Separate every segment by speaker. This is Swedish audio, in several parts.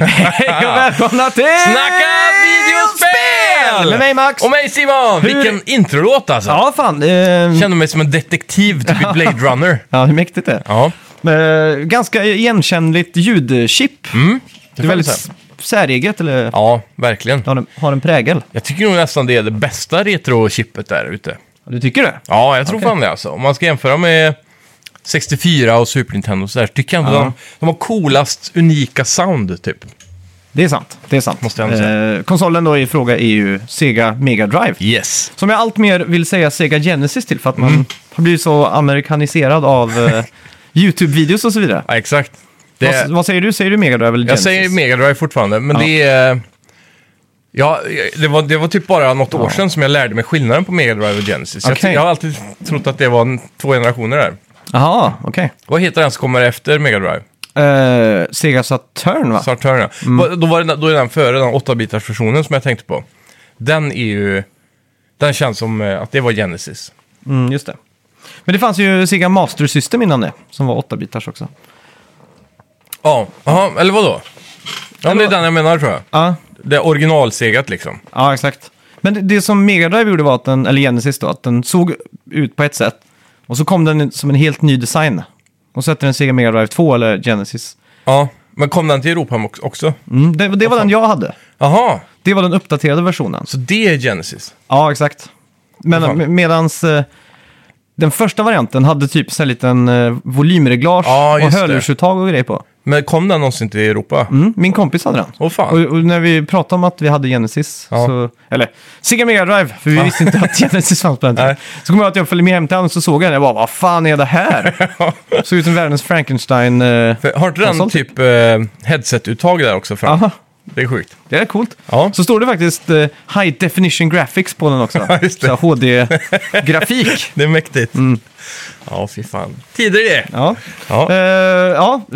Speaker 1: Hej och välkomna till
Speaker 2: Snacka videospel!
Speaker 1: Med mig Max!
Speaker 2: Och mig Simon! Vilken introlåt alltså!
Speaker 1: Ja, fan. Eh,
Speaker 2: Känner mig som en detektiv, typ i Blade Runner.
Speaker 1: ja, hur mäktigt det
Speaker 2: Ja,
Speaker 1: är. Eh, ganska igenkännligt ljudchip.
Speaker 2: mm.
Speaker 1: det är väldigt s- säreget, eller
Speaker 2: Ja, verkligen.
Speaker 1: det har, en, har en prägel.
Speaker 2: Jag tycker nog nästan det är det bästa retro-chippet där ute.
Speaker 1: Du tycker det?
Speaker 2: Ja, jag tror
Speaker 1: Okej.
Speaker 2: fan det alltså. Om man ska jämföra med 64 och Super Nintendo och sådär, så tycker jag ändå
Speaker 1: Ja.
Speaker 2: de, de har coolast, unika sound typ.
Speaker 1: Det är sant. Det är sant.
Speaker 2: Måste jag ändå säga.
Speaker 1: Eh, konsolen då i fråga är ju Sega Mega Drive.
Speaker 2: Yes.
Speaker 1: Som jag allt mer vill säga Sega Genesis till för att
Speaker 2: Mm.
Speaker 1: man har blivit så amerikaniserad av eh, YouTube-videos och så vidare.
Speaker 2: Ja, exakt. Det,
Speaker 1: Vad, vad säger du? Säger du Mega Drive eller
Speaker 2: jag
Speaker 1: Genesis?
Speaker 2: säger Mega Drive fortfarande, men
Speaker 1: Ja.
Speaker 2: det är... Ja, det var, det var typ bara något år sedan som jag lärde mig skillnaden på Mega Drive och Genesis. Jag,
Speaker 1: Okej.
Speaker 2: ty- jag har alltid trott att det var en, två generationer där.
Speaker 1: Jaha, okej.
Speaker 2: Vad heter den som kommer efter Mega Drive?
Speaker 1: Eh, Sega Saturn va?
Speaker 2: Saturn, ja.
Speaker 1: Mm.
Speaker 2: Va- Då, var det, då är den före den 8-bitars versionen som jag tänkte på. Den är ju... Den känns som eh, att det var Genesis.
Speaker 1: Mm, just det. Men det fanns ju Sega Master System innan det, som var 8-bitars också.
Speaker 2: Ja, aha, eller vadå? Ja, men det är den jag menar tror jag.
Speaker 1: Ja,
Speaker 2: Det är originalsegat liksom.
Speaker 1: ja exakt. Men det- det som Mega Drive gjorde var att den, eller Genesis då, att den såg ut på ett sätt. Och så kom den som en helt ny design. Och så hette den Sega Mega Drive 2 eller Genesis.
Speaker 2: Ja, men kom den till Europa mox- också?
Speaker 1: Mm, det, det var den jag hade.
Speaker 2: Jaha,
Speaker 1: Det var den uppdaterade versionen.
Speaker 2: så det är Genesis.
Speaker 1: Ja, exakt. Men
Speaker 2: Fan.
Speaker 1: med, medans eh, den första varianten hade typ så här liten eh, volymreglage
Speaker 2: Ja,
Speaker 1: och
Speaker 2: just det.
Speaker 1: hörlursuttag och grejer på.
Speaker 2: Men kom den någonsin till Europa?
Speaker 1: Mm, min kompis hade den.
Speaker 2: Åh fan.
Speaker 1: Och, och när vi pratade om att vi hade Genesis,
Speaker 2: Ja.
Speaker 1: så, eller Sega Mega Drive, för vi visste inte att Genesis fanns på den tiden.
Speaker 2: Nej.
Speaker 1: Så kommer jag att jag följde med hem till honom och så såg jag den och jag bara, vad fan är det här? Såg ut som världens Frankenstein. eh,
Speaker 2: För, har inte
Speaker 1: Konsol
Speaker 2: den
Speaker 1: typ.
Speaker 2: typ eh, headset-uttag där också fram?
Speaker 1: Aha,
Speaker 2: Det är sjukt.
Speaker 1: det är coolt.
Speaker 2: Ja.
Speaker 1: Så står det faktiskt eh, High Definition Graphics på den också.
Speaker 2: Ja, just det.
Speaker 1: Så HD-grafik.
Speaker 2: Det är mäktigt. Ja, fy fan. Tider det!
Speaker 1: Mm. Ja.
Speaker 2: Ja.
Speaker 1: Eh,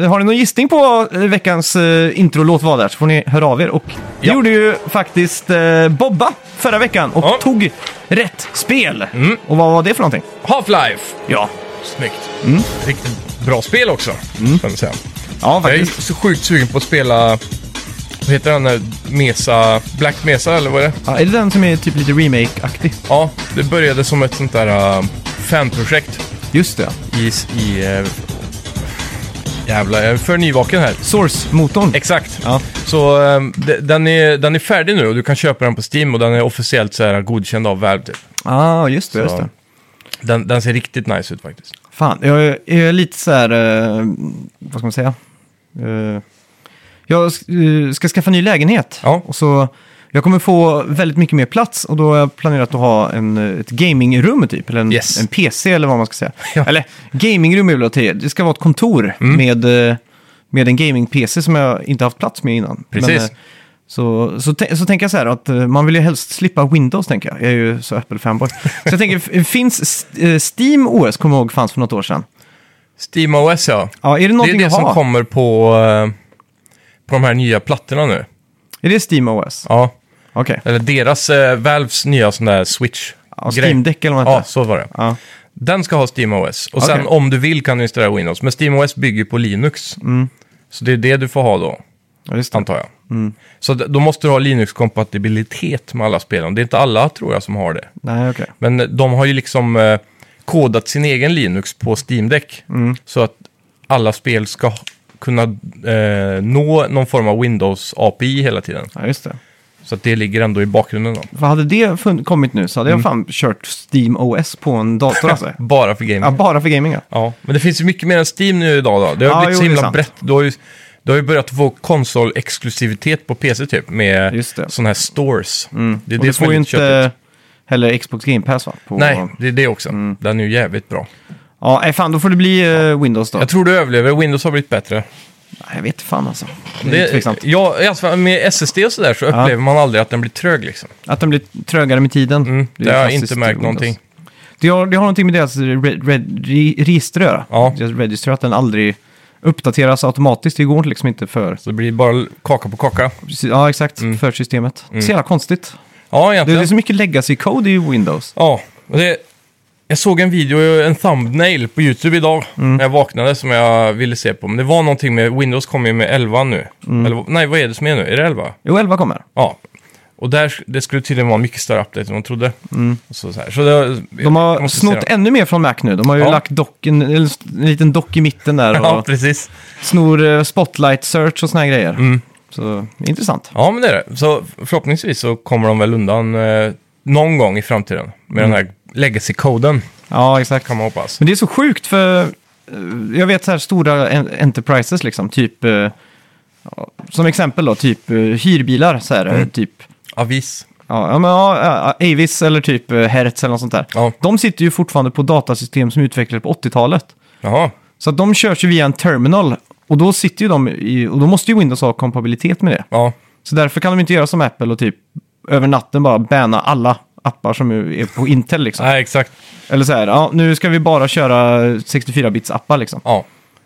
Speaker 1: ja, har ni någon gissning på vad veckans eh, introlåt var där så får ni höra av er. Och det
Speaker 2: Ja.
Speaker 1: gjorde ju faktiskt eh, Bobba förra veckan och
Speaker 2: Ja. Mm.
Speaker 1: tog rätt spel. Och vad var det för någonting?
Speaker 2: Half-Life!
Speaker 1: Ja,
Speaker 2: Snyggt.
Speaker 1: Mm.
Speaker 2: Riktigt bra spel också, kan man säga.
Speaker 1: ja
Speaker 2: Jag är
Speaker 1: Mm. faktiskt.
Speaker 2: så sjukt sugen på att spela... Vad heter den där Mesa... Black Mesa, eller vad är det?
Speaker 1: Ja, är det den som är typ lite remake-aktig?
Speaker 2: Ja, det började som ett sånt där uh, fanprojekt
Speaker 1: Just det.
Speaker 2: i... i eh, jävlar, jag är för nyvaken här.
Speaker 1: Source-motorn.
Speaker 2: Exakt.
Speaker 1: Ja.
Speaker 2: Så eh, de- den, är, den är färdig nu och du kan köpa den på Steam och den är officiellt så här godkänd av Valve. Typ.
Speaker 1: ah, just det. Just
Speaker 2: Så.
Speaker 1: det.
Speaker 2: Den, den ser riktigt nice ut faktiskt.
Speaker 1: Fan, jag är- jag är lite så här, eh, vad ska man säga? Eh, jag sk- eh, ska skaffa ny lägenhet.
Speaker 2: Ja.
Speaker 1: Och så, jag kommer få väldigt mycket mer plats och då har jag planerat att ha en, eh, ett gamingrum typ, eller en,
Speaker 2: Yes.
Speaker 1: en PC eller vad man ska säga.
Speaker 2: Ja. Mm.
Speaker 1: Eller gamingrum är väl att ta i. det ska vara ett kontor med, eh, med en gaming-PC som jag inte haft plats med innan.
Speaker 2: Precis.
Speaker 1: eh, så, så, tän- så tänker jag så här att eh, man vill ju helst slippa Windows, tänker jag. Jag är ju så Apple-fanboy. Så jag tänker, f- finns S- eh, Steam OS, kommer jag ihåg, fanns för något år sedan.
Speaker 2: Steam OS ja.
Speaker 1: Ja, är det
Speaker 2: Det är
Speaker 1: någonting
Speaker 2: det
Speaker 1: att
Speaker 2: som
Speaker 1: ha?
Speaker 2: kommer på, eh, på de här nya plattorna nu.
Speaker 1: Är det Steam OS?
Speaker 2: Ja,
Speaker 1: Okej.
Speaker 2: eller deras, eh, Valves nya sån där
Speaker 1: Ja,
Speaker 2: Switch-grej.
Speaker 1: Steam Deck eller vad det
Speaker 2: Ja,
Speaker 1: heter.
Speaker 2: så var det.
Speaker 1: Ja.
Speaker 2: Den ska ha Steam OS. Och sen
Speaker 1: Okej.
Speaker 2: om du vill kan du installera Windows. Men Steam OS bygger ju på Linux.
Speaker 1: Mm.
Speaker 2: Så det är det du får ha då.
Speaker 1: Ja, just det.
Speaker 2: antar jag.
Speaker 1: Mm.
Speaker 2: Så d- då måste du ha Linux-kompatibilitet med alla spelen. Det är inte alla, tror jag, som har det.
Speaker 1: Nej, okej.
Speaker 2: Men eh, de har ju liksom eh, kodat sin egen Linux på Steam Deck.
Speaker 1: Mm.
Speaker 2: Så att alla spel ska h- kunna eh, nå någon form av Windows-API hela tiden.
Speaker 1: Ja, just det.
Speaker 2: Så att det ligger ändå i bakgrunden då.
Speaker 1: För hade det fun- kommit nu så hade
Speaker 2: Mm.
Speaker 1: jag fan kört Steam OS på en dator alltså.
Speaker 2: Bara för gaming.
Speaker 1: ja,
Speaker 2: Ja.
Speaker 1: bara för gaming ja.
Speaker 2: men det finns ju mycket mer än Steam nu idag då. Det har
Speaker 1: Ja,
Speaker 2: blivit
Speaker 1: jo,
Speaker 2: så
Speaker 1: det är
Speaker 2: himla
Speaker 1: sant.
Speaker 2: brett. Du har ju, du har ju börjat få konsolexklusivitet på PC typ med
Speaker 1: Just det. Mm.
Speaker 2: sådana här stores. Det är
Speaker 1: Och
Speaker 2: det
Speaker 1: du
Speaker 2: som
Speaker 1: får
Speaker 2: är
Speaker 1: ju
Speaker 2: lite köttigt.
Speaker 1: inte heller Xbox Game Pass va? På...
Speaker 2: Nej, det är det också. Den är ju jävligt bra.
Speaker 1: Mm. Ja, nej, fan då får det bli eh, Windows då.
Speaker 2: Jag tror du överlever. Windows har blivit bättre.
Speaker 1: Nej, jag vet fan alltså. Det är
Speaker 2: Det,
Speaker 1: lite tveksamt.
Speaker 2: ja, alltså, med SSD och sådär så upplever man aldrig att den blir trög liksom.
Speaker 1: Att den blir trögare med tiden.
Speaker 2: Det,
Speaker 1: är
Speaker 2: har Mm. jag
Speaker 1: klassiskt
Speaker 2: inte märkt
Speaker 1: Windows.
Speaker 2: någonting.
Speaker 1: Det har, det har någonting med deras red, red, re, register att göra.
Speaker 2: Ja.
Speaker 1: Deras register, att den aldrig uppdateras automatiskt. Det går liksom inte för,
Speaker 2: Så det blir bara kaka på kaka.
Speaker 1: ja, exakt, för systemet. Det är liksom- så jävla konstigt.
Speaker 2: Mm. Ja,
Speaker 1: Det
Speaker 2: egentligen.
Speaker 1: är så mycket legacy-code i Windows.
Speaker 2: Ja, och det, Jag såg en video, en thumbnail på YouTube idag
Speaker 1: Mm.
Speaker 2: när jag vaknade som jag ville se på. Men det var någonting med, Windows kommer ju med 11 nu.
Speaker 1: Mm.
Speaker 2: Eller, nej, vad är det som är nu? Är det 11?
Speaker 1: Jo, 11 kommer.
Speaker 2: Ja. Och där, det skulle tydligen vara en mycket större update än man trodde. Och så, så, här. så det,
Speaker 1: Mm. De
Speaker 2: jag
Speaker 1: har
Speaker 2: måste
Speaker 1: snott
Speaker 2: se
Speaker 1: ännu mer från Mac nu. De har ju
Speaker 2: Ja.
Speaker 1: lagt dock, en, en liten dock i mitten där
Speaker 2: den.
Speaker 1: och
Speaker 2: Ja, precis.
Speaker 1: snor eh, spotlight search och såna här grejer.
Speaker 2: Mm.
Speaker 1: Så intressant.
Speaker 2: Ja, men det är det. Så förhoppningsvis så kommer de väl undan eh, någon gång i framtiden med den här legacy-koden,
Speaker 1: Ja, exakt.
Speaker 2: kan man hoppas.
Speaker 1: Men det är så sjukt för eh, jag vet så här stora en- enterprises liksom, typ eh, ja, som exempel då, typ eh, hyrbilar så här, eh, typ
Speaker 2: Avis.
Speaker 1: ja, ja, men, ja, ja, Avis eller typ eh, Hertz eller något sånt där.
Speaker 2: Ja.
Speaker 1: De sitter ju fortfarande på datasystem som utvecklades på 80-talet.
Speaker 2: Jaha.
Speaker 1: Så att de körs ju via en terminal och då sitter ju de i, och då måste ju Windows ha kompatibilitet med det.
Speaker 2: Ja.
Speaker 1: Så därför kan de inte göra som Apple och typ över natten bara banna alla appar som ju är på Intel liksom.
Speaker 2: Nej, exakt.
Speaker 1: Eller så här, ja, nu ska vi bara köra 64-bits appar liksom.
Speaker 2: Ja.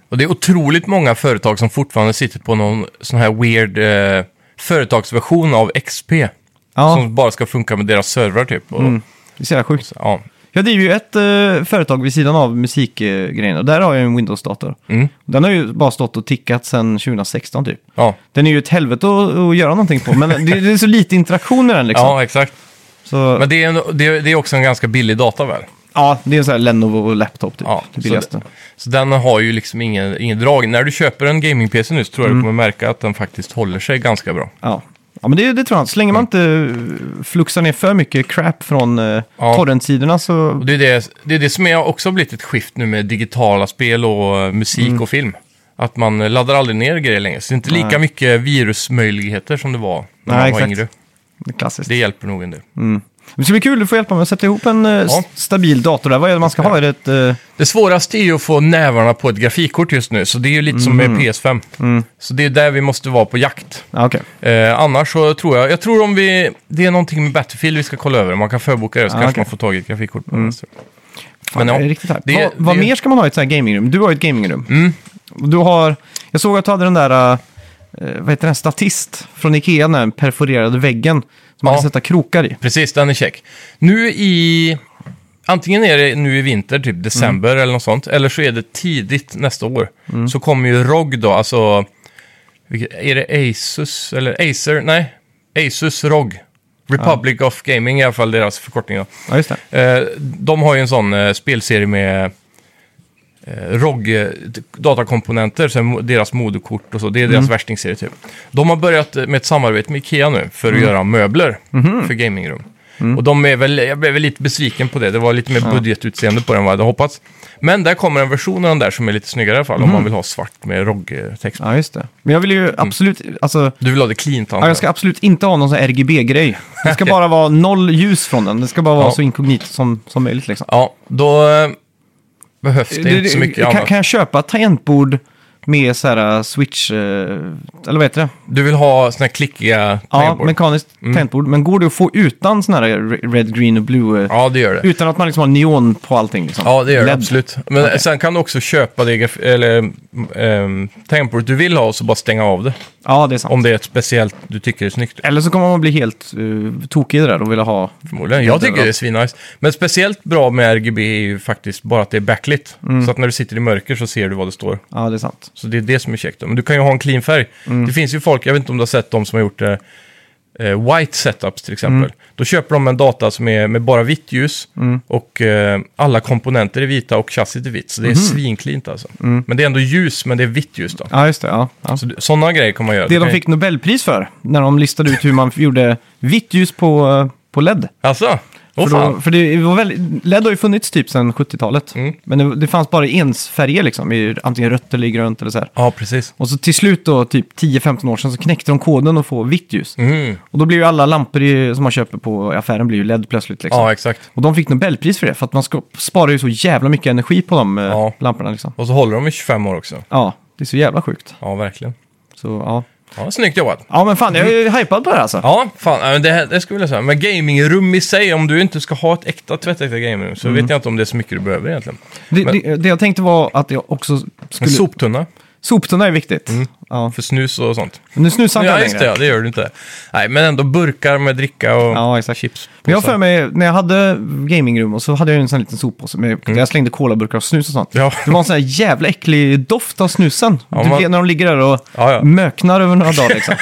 Speaker 2: Och det är otroligt många företag som fortfarande sitter på någon sån här weird eh, företagsversion av XP.
Speaker 1: Ja.
Speaker 2: Som bara ska funka med deras servrar typ. Och,
Speaker 1: Det är så jävla sjukt.
Speaker 2: ja.
Speaker 1: Jag driver ju ett eh, företag vid sidan av musikgrejen och där har jag en Windows-dator.
Speaker 2: Mm.
Speaker 1: Den har ju bara stått och tickat sedan 2016 typ.
Speaker 2: Ja.
Speaker 1: Den är ju ett helvete att, att göra någonting på, men det, det är så lite interaktion med den liksom.
Speaker 2: ja, exakt.
Speaker 1: så,
Speaker 2: Men det är, en, det, är, det är också en ganska billig data väl?
Speaker 1: ja, det är en sån här Lenovo-laptop typ.
Speaker 2: Ja,
Speaker 1: det billigaste.
Speaker 2: Så, så den har ju liksom ingen, ingen drag. När du köper en gaming-PC nu så tror jag
Speaker 1: Mm.
Speaker 2: du kommer märka att den faktiskt håller sig ganska bra.
Speaker 1: Ja. ja, men det, det tror jag. Så
Speaker 2: Mm.
Speaker 1: länge man inte eh, fluxar ner för mycket crap från eh,
Speaker 2: Ja.
Speaker 1: torrentsidorna så...
Speaker 2: Och det, är det, det är det som är också har blivit ett skift nu med digitala spel och eh, musik och film. Att man eh, laddar aldrig ner grejer längre. Så det är inte lika
Speaker 1: Mm. Nej.
Speaker 2: mycket virusmöjligheter som det var när
Speaker 1: Nej,
Speaker 2: man var
Speaker 1: exakt.
Speaker 2: yngre.
Speaker 1: Det är klassiskt.
Speaker 2: Det hjälper nog en del.
Speaker 1: Det ska bli kul, du får hjälpa mig att sätta ihop en eh, s- stabil dator där. Vad är det man ska ha? Är det ett... eh,
Speaker 2: Det svåraste är ju att få nävarna på ett grafikkort just nu. Så det är ju lite som
Speaker 1: Mm.
Speaker 2: med PS5. Så det är där vi måste vara på jakt.
Speaker 1: Ja, okej.
Speaker 2: Eh, annars så tror jag, jag tror om vi, det är någonting med Battlefield vi ska kolla över. Man kan förboka det så
Speaker 1: Ah,
Speaker 2: kanske
Speaker 1: okej. Mm.
Speaker 2: man får tag i ett grafikkort på vänster.
Speaker 1: Fan,
Speaker 2: Men ja,
Speaker 1: jag är riktigt här.
Speaker 2: det-
Speaker 1: vad vad
Speaker 2: det- Mm.
Speaker 1: mer ska man ha i ett sånt här gamingrum? Du har ju ett gamingrum. Och Du har... Jag såg att du hade den där... eh, vad heter den? Statist från Ikea, den där perforerade väggen. Som man
Speaker 2: Ja.
Speaker 1: kan sätta krokar i.
Speaker 2: Precis, den är check. Nu i... Antingen är det nu i vinter, typ december
Speaker 1: Mm.
Speaker 2: eller något sånt. Eller så är det tidigt nästa år. Så kommer ju ROG då, alltså... vilket- Är det Asus eller Acer? Nej, Asus ROG. Republic of Gaming är i alla fall deras förkortning. Då.
Speaker 1: Ja, just det.
Speaker 2: Eh, de har ju en sån eh, spelserie med eh, ROG-datakomponenter, sen deras moderkort och så. Det är deras
Speaker 1: Mm.
Speaker 2: värstingserie typ. De har börjat eh, med ett samarbete med Ikea nu för
Speaker 1: Mm.
Speaker 2: att göra möbler
Speaker 1: Mm-hmm.
Speaker 2: för gamingrum. Och de är väl, jag blev väl lite besviken på det. Det var lite mer budgetutseende på den än vad jag hade hoppats. Men där kommer en version av den där som är lite snyggare i alla fall. Om
Speaker 1: Mm-hmm.
Speaker 2: man vill ha svart med ROG-text.
Speaker 1: Ja, just det. Men jag vill
Speaker 2: Mm.
Speaker 1: ju absolut... Alltså,
Speaker 2: Du vill ha det cleant antar
Speaker 1: Ja, jag ska absolut inte ha någon sån här RGB-grej. Det ska bara vara noll ljus från den. Det ska bara vara
Speaker 2: Ja.
Speaker 1: så inkognito som, som möjligt. Liksom.
Speaker 2: Ja, då eh, behövs det, inte så mycket
Speaker 1: kan,
Speaker 2: annat.
Speaker 1: kan jag köpa ett tangentbord med så här eh, switch... eh, Eller vad heter det?
Speaker 2: Du vill ha såna här klickiga
Speaker 1: Ja,
Speaker 2: tangentbord. Mm.
Speaker 1: mekaniskt tangentbord. Men går det att få utan sån här re- red, green och blue? eh,
Speaker 2: Ja, det gör det.
Speaker 1: Utan att man liksom har neon på allting? Liksom.
Speaker 2: Ja, det gör det
Speaker 1: LED.
Speaker 2: absolut. Men sen kan du också köpa det graf- eller, ähm, tangentbordet du vill ha och så bara stänga av det.
Speaker 1: Ja, det är sant.
Speaker 2: Om det är ett speciellt du tycker är snyggt.
Speaker 1: Eller så kommer man bli helt uh, tokig i det där och vilja ha...
Speaker 2: Förmodligen. Jag tycker det är svinnice. Men speciellt bra med RGB är ju faktiskt bara att det är backlit. Så att när du sitter i mörker så ser du vad det står.
Speaker 1: Ja, det är sant.
Speaker 2: Så det är det som är käckt. då. Men du kan ju ha en clean färg.
Speaker 1: Mm.
Speaker 2: Det finns ju folk, jag vet inte om du har sett de som har gjort eh, eh, white setups till exempel.
Speaker 1: Mm.
Speaker 2: Då köper de en data som är med bara vitt ljus och eh, alla komponenter är vita och chassit är vitt. Så det
Speaker 1: Mhm.
Speaker 2: är svinklint alltså. Men det är ändå ljus, men det är vitt ljus då.
Speaker 1: Ja, just det. Ja. Mm. Ja.
Speaker 2: Så sådana grejer kan man göra.
Speaker 1: Det
Speaker 2: Du
Speaker 1: de
Speaker 2: kan ju-
Speaker 1: fick Nobelpris för, när de listade ut hur man gjorde vitt ljus på, eh, på LED.
Speaker 2: Alltså? Åh
Speaker 1: för, då,
Speaker 2: fan. Mm.
Speaker 1: för det var väldigt, LED har ju funnits typ sedan 70-talet. Men det, det fanns bara ensfärger liksom, i antingen rött eller i grönt eller så här.
Speaker 2: Ja, precis.
Speaker 1: Och så till slut då, typ 10-15 år sedan, så knäckte de koden att få vitt ljus.
Speaker 2: Mm.
Speaker 1: Och då blir ju alla lampor i, som man köper på i affären blir ju LED plötsligt liksom.
Speaker 2: Ja, exakt.
Speaker 1: Och de fick Nobelpris för det, för att man ska, sparar ju så jävla mycket energi på de eh,
Speaker 2: Ja.
Speaker 1: lamporna liksom.
Speaker 2: Och så håller de i 25 år också.
Speaker 1: Ja, det är så jävla sjukt.
Speaker 2: Ja, verkligen.
Speaker 1: Så ja.
Speaker 2: Ja, snyggt jobbat.
Speaker 1: Ja men fan, jag är ju hypad på det här alltså.
Speaker 2: Ja, fan, ja, men det, här- det skulle jag säga. Men gamingrum i sig, om du inte ska ha ett äkta tvättäkta gamingrum
Speaker 1: Mm.
Speaker 2: så vet jag inte om det är så mycket du behöver egentligen.
Speaker 1: Det,
Speaker 2: Men-
Speaker 1: det, det jag tänkte var att jag också
Speaker 2: En
Speaker 1: skulle...
Speaker 2: soptunna.
Speaker 1: Soptunna är viktigt. Ja.
Speaker 2: För snus och sånt.
Speaker 1: Men nu snusar inte
Speaker 2: Mm. Ja,
Speaker 1: jag
Speaker 2: just det,
Speaker 1: längre.
Speaker 2: ja, det gör du inte. Nej, men ändå burkar med dricka och
Speaker 1: Ja, exakt.
Speaker 2: chips.
Speaker 1: Men jag har för mig, när jag hade gamingrum och så hade jag ju en sån här liten soppåse. Med, Jag slängde kolaburkar och snus och sånt.
Speaker 2: Mm. Ja.
Speaker 1: Det var en sån här jävla äcklig doft av snusen.
Speaker 2: Ja,
Speaker 1: du
Speaker 2: man-
Speaker 1: vet när de ligger där och
Speaker 2: Ja, ja.
Speaker 1: möknar över några dagar liksom.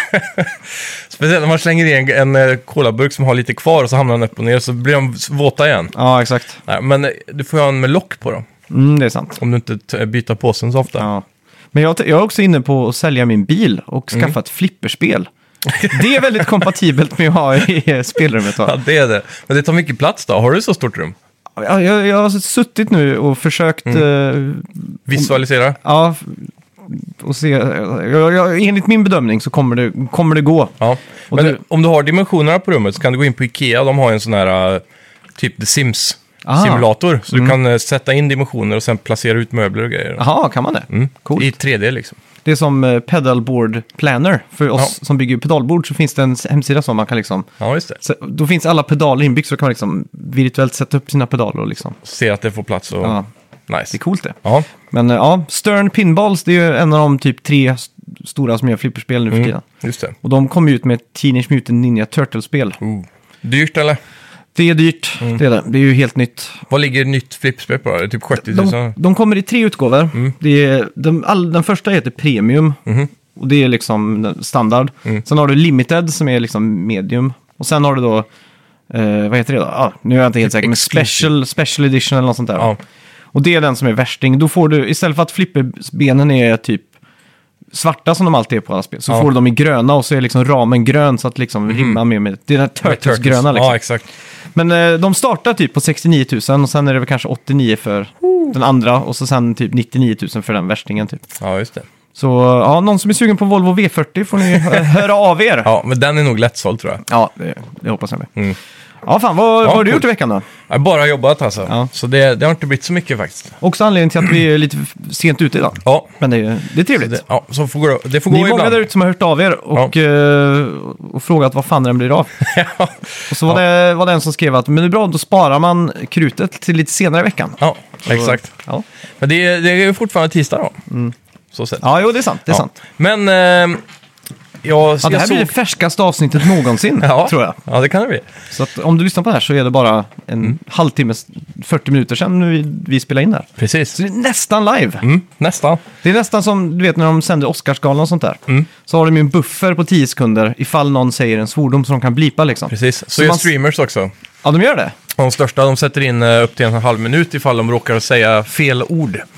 Speaker 2: Speciellt när man slänger i en, en eh, colaburk som har lite kvar och så hamnar den upp och ner så blir de s- våta igen.
Speaker 1: ja, exakt.
Speaker 2: Nej, men eh, du får ju ha en med lock på dem.
Speaker 1: Mm, det är sant.
Speaker 2: Om du inte t- byter påsen så ofta.
Speaker 1: Ja. Men jag, jag är också inne på att sälja min bil och skaffa ett flipperspel. Det är väldigt kompatibelt med att ha i spelrummet. Va?
Speaker 2: Ja, det är det. Men det tar mycket plats då. Har du så stort rum?
Speaker 1: Ja, Jag, jag har suttit nu och försökt eh,
Speaker 2: Visualisera.
Speaker 1: Ja, f- och se. Jag, jag, enligt min bedömning så kommer det, kommer det gå.
Speaker 2: Ja.
Speaker 1: Och
Speaker 2: Men
Speaker 1: du-
Speaker 2: om du har dimensionerna på rummet så kan du gå in på Ikea. De har ju en sån här eh, typ The Sims.
Speaker 1: Ah.
Speaker 2: Simulator, så du kan eh, sätta in dimensioner och sen placera ut möbler och grejer.
Speaker 1: Jaha, kan man det? Ah, Coolt.
Speaker 2: I 3D liksom.
Speaker 1: Det är som eh, pedalboard planner. För oss som bygger pedalbord så finns det en s- hemsida som man kan liksom...
Speaker 2: Ja, just det.
Speaker 1: så- Då finns alla pedaler inbyggt så kan man liksom virtuellt sätta upp sina pedaler och liksom.
Speaker 2: Se att det får plats och...
Speaker 1: Ja, Ah. det
Speaker 2: Nice.
Speaker 1: är coolt det.
Speaker 2: Ja.
Speaker 1: Men eh, ja, Stern Pinballs det är ju en av de typ tre s- stora som gör flipperspel nu för tiden.
Speaker 2: Just det.
Speaker 1: Och de kom ju ut med ett Teenage Mutant Ninja Turtles-spel.
Speaker 2: Ooh. Dyrt eller?
Speaker 1: Det är dyrt, det är det. Det är ju helt nytt.
Speaker 2: Vad ligger nytt flippspel på? Är det Typ 70 000?
Speaker 1: De, de kommer i tre utgåvor.
Speaker 2: Mm.
Speaker 1: Det är, de, all, den första heter Premium.
Speaker 2: Mm-hmm.
Speaker 1: Och det är liksom den- standard.
Speaker 2: Mm.
Speaker 1: Sen har du Limited som är liksom medium. Och sen har du då, eh, vad heter det då? Ah, nu är jag inte helt säker, men
Speaker 2: exclusive.
Speaker 1: special, special Edition eller något sånt där.
Speaker 2: Ja.
Speaker 1: Och det är den som är värsting. Då får du, istället för att flipperbenen är typ svarta som de alltid är på alla spel, så
Speaker 2: Ja. Mm-hmm.
Speaker 1: får du dem i gröna och så är liksom ramen grön så att liksom rimmar med, med... Det är den här Turtles-gröna liksom.
Speaker 2: Ja, exakt.
Speaker 1: Men eh, de startar typ på 69 000 och sen är det väl kanske 89 för den andra och så sen typ 99 000 för den värstingen typ.
Speaker 2: Ja, just det.
Speaker 1: Så ja, någon som är sugen på Volvo V40 får ni eh, höra av er. Ja,
Speaker 2: Ja, Mm. men den är nog lättsåld tror jag.
Speaker 1: det, det hoppas jag med. Ja, fan, vad, vad har du
Speaker 2: coolt.
Speaker 1: gjort i veckan då?
Speaker 2: Jag har bara jobbat alltså.
Speaker 1: Ja.
Speaker 2: Så det, det har inte blivit så mycket faktiskt.
Speaker 1: Också anledningen till att vi är lite f- sent ute idag.
Speaker 2: Ja,
Speaker 1: Men det är, det är trevligt.
Speaker 2: det, ja så får gå, det får gå
Speaker 1: Ni är många
Speaker 2: ibland.
Speaker 1: där ute som har hört av er och, eh, och frågat vad fan den blir av.
Speaker 2: ja.
Speaker 1: Och så var, det, var det en som skrev att men det är bra, då sparar man krutet till lite senare i veckan.
Speaker 2: ja, exakt.
Speaker 1: Ja,
Speaker 2: Men det, är- det är ju fortfarande tisdag då. Så sett.
Speaker 1: Mm. ja jo, det är sant. Det är
Speaker 2: Ja.
Speaker 1: sant.
Speaker 2: Men eh, jag,
Speaker 1: Ja, det
Speaker 2: jag
Speaker 1: här
Speaker 2: såg...
Speaker 1: blir det färskaste avsnittet någonsin,
Speaker 2: ja.
Speaker 1: tror jag.
Speaker 2: Ja, det kan det bli.
Speaker 1: Så att, om du lyssnar på det här så är det bara en
Speaker 2: Mm.
Speaker 1: halvtimme, 40 minuter sedan vi, vi spelade in det här.
Speaker 2: Precis.
Speaker 1: Så det är nästan live.
Speaker 2: Mm, nästan.
Speaker 1: Det är nästan som, du vet när de sänder Oscarsgalan och sånt där.
Speaker 2: Mm.
Speaker 1: Så har de ju en buffer på 10 sekunder ifall någon säger en svordom så de kan blipa liksom.
Speaker 2: Precis. Så,
Speaker 1: Så
Speaker 2: gör
Speaker 1: man-
Speaker 2: streamers också.
Speaker 1: Ja, de gör det.
Speaker 2: De största de sätter in eh, upp till en halv minut ifall de råkar säga fel ord.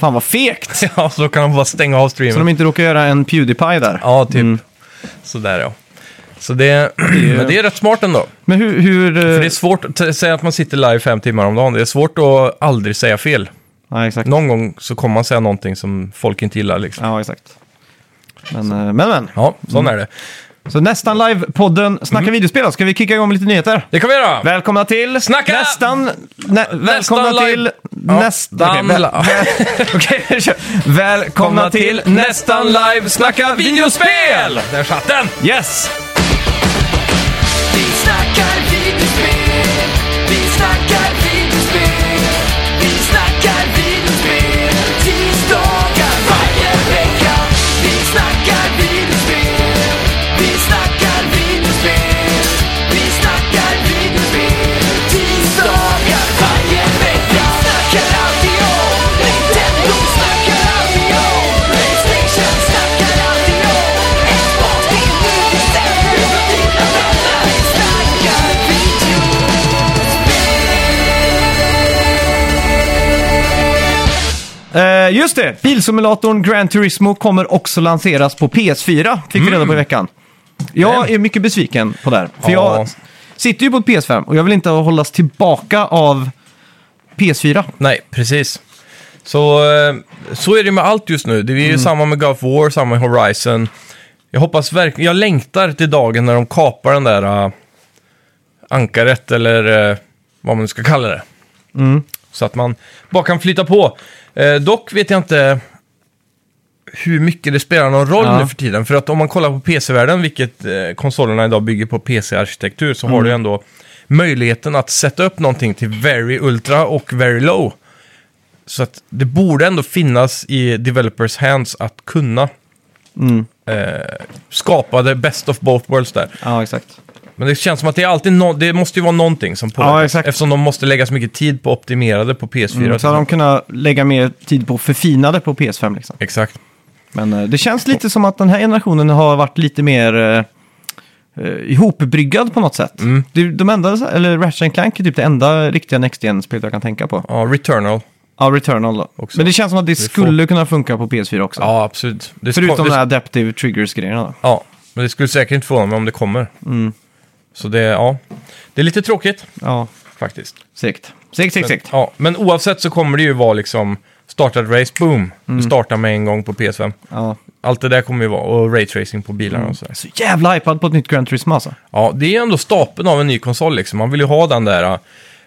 Speaker 1: Fan vad fegt!
Speaker 2: Ja, så kan de bara stänga av streamen.
Speaker 1: Så de Mm. inte råkar göra en Pewdiepie där.
Speaker 2: Ja, typ. Sådär ja. Så det, men det är rätt smart ändå.
Speaker 1: Men hur... hur eh,
Speaker 2: För det är svårt, t- säg att man sitter live fem timmar om dagen, det är svårt att aldrig säga fel.
Speaker 1: ja, exakt.
Speaker 2: Någon gång så kommer man säga någonting som folk inte gillar liksom.
Speaker 1: Ja, exakt. Men, eh, men, men.
Speaker 2: Ja, sån är det.
Speaker 1: Så nästan live-podden Snacka
Speaker 2: Mm.
Speaker 1: videospel då. Ska vi kicka igång med lite nyheter?
Speaker 2: Det kan vi göra!
Speaker 1: Välkomna till...
Speaker 2: Snacka!
Speaker 1: Nästan... Nä, välkomna
Speaker 2: live-
Speaker 1: till...
Speaker 2: Ja,
Speaker 1: Nästan...
Speaker 2: dan-
Speaker 1: Okej, väl,
Speaker 2: la-
Speaker 1: okej, vi kör. Välkomna till Nästan live Snacka videospel!
Speaker 2: Där satt den!
Speaker 1: Yes!
Speaker 3: Vi snackar videospel, vi snackar videospel, vi snackar videospel, tisdagar varje vecka. Vi snackar videospel, vi snackar videospel, vi snackar videospel, tisdagar varje vecka. Snackar alltid om Nintendo, snackar alltid om Playstation, snackar alltid om Xbox, det är nu det stämmer. Dina vänner, vi snackar video.
Speaker 1: Eh, just det! Bilsimulatorn Gran Turismo kommer också lanseras på PS4, fick vi reda på i veckan. Jag är mycket besviken på det här, för
Speaker 2: Ja.
Speaker 1: jag sitter ju på ett PS5 och jag vill inte hållas tillbaka av PS4.
Speaker 2: Nej, precis. Så, eh, så är det med allt just nu. Det är
Speaker 1: Mm.
Speaker 2: ju samma med God of War, samma med Horizon. Jag hoppas verkligen, jag längtar till dagen när de kapar den där eh, ankaret eller eh, vad man nu ska kalla det. Så att man bara kan flytta på. Eh, dock vet jag inte hur mycket det spelar någon roll
Speaker 1: Ja.
Speaker 2: nu för tiden. För att om man kollar på PC-världen, vilket eh, konsolerna idag bygger på PC-arkitektur, så har du ändå möjligheten att sätta upp någonting till Very Ultra och Very Low. Så att det borde ändå finnas i developers hands att kunna eh, skapa det best of both worlds där.
Speaker 1: Ja, exakt.
Speaker 2: Men det känns som att det är alltid no- det måste ju vara någonting som påverkar.
Speaker 1: Ja, exakt.
Speaker 2: Eftersom de måste lägga så mycket tid på optimerade på PS4.
Speaker 1: Mm, så hade de kunnat lägga mer tid på förfinade på PS5. Liksom.
Speaker 2: Exakt.
Speaker 1: Men eh, det känns lite som att den här generationen har varit lite mer eh, eh, ihopbryggad på något sätt.
Speaker 2: Mm.
Speaker 1: Det är ju de enda, eller Ratchet Clank är typ det enda riktiga Next Gen-spelet jag kan tänka på.
Speaker 2: Ja, Returnal.
Speaker 1: Ja, Returnal då.
Speaker 2: Också.
Speaker 1: Men det känns som att det
Speaker 2: får-
Speaker 1: skulle kunna funka på PS4 också.
Speaker 2: Ja, absolut. Det ska-
Speaker 1: Förutom
Speaker 2: det,
Speaker 1: de här Adaptive Triggers-grejerna då.
Speaker 2: Ja, men det skulle säkert inte förvåna mig om det kommer.
Speaker 1: Mm.
Speaker 2: Så det, ja. Det är lite tråkigt
Speaker 1: Ja,
Speaker 2: faktiskt.
Speaker 1: segt. Segt, segt, segt.
Speaker 2: Ja, men oavsett så kommer det ju vara liksom startad race, boom.
Speaker 1: Mm.
Speaker 2: Du startar med en gång på PS5.
Speaker 1: Ja.
Speaker 2: Allt det där kommer ju vara, och raytracing på bilarna och sådär.
Speaker 1: Så jävla hypad på ett nytt Grand Turismo alltså.
Speaker 2: Ja, det är ju ändå stapeln av en ny konsol liksom. Man vill ju ha den där. äh,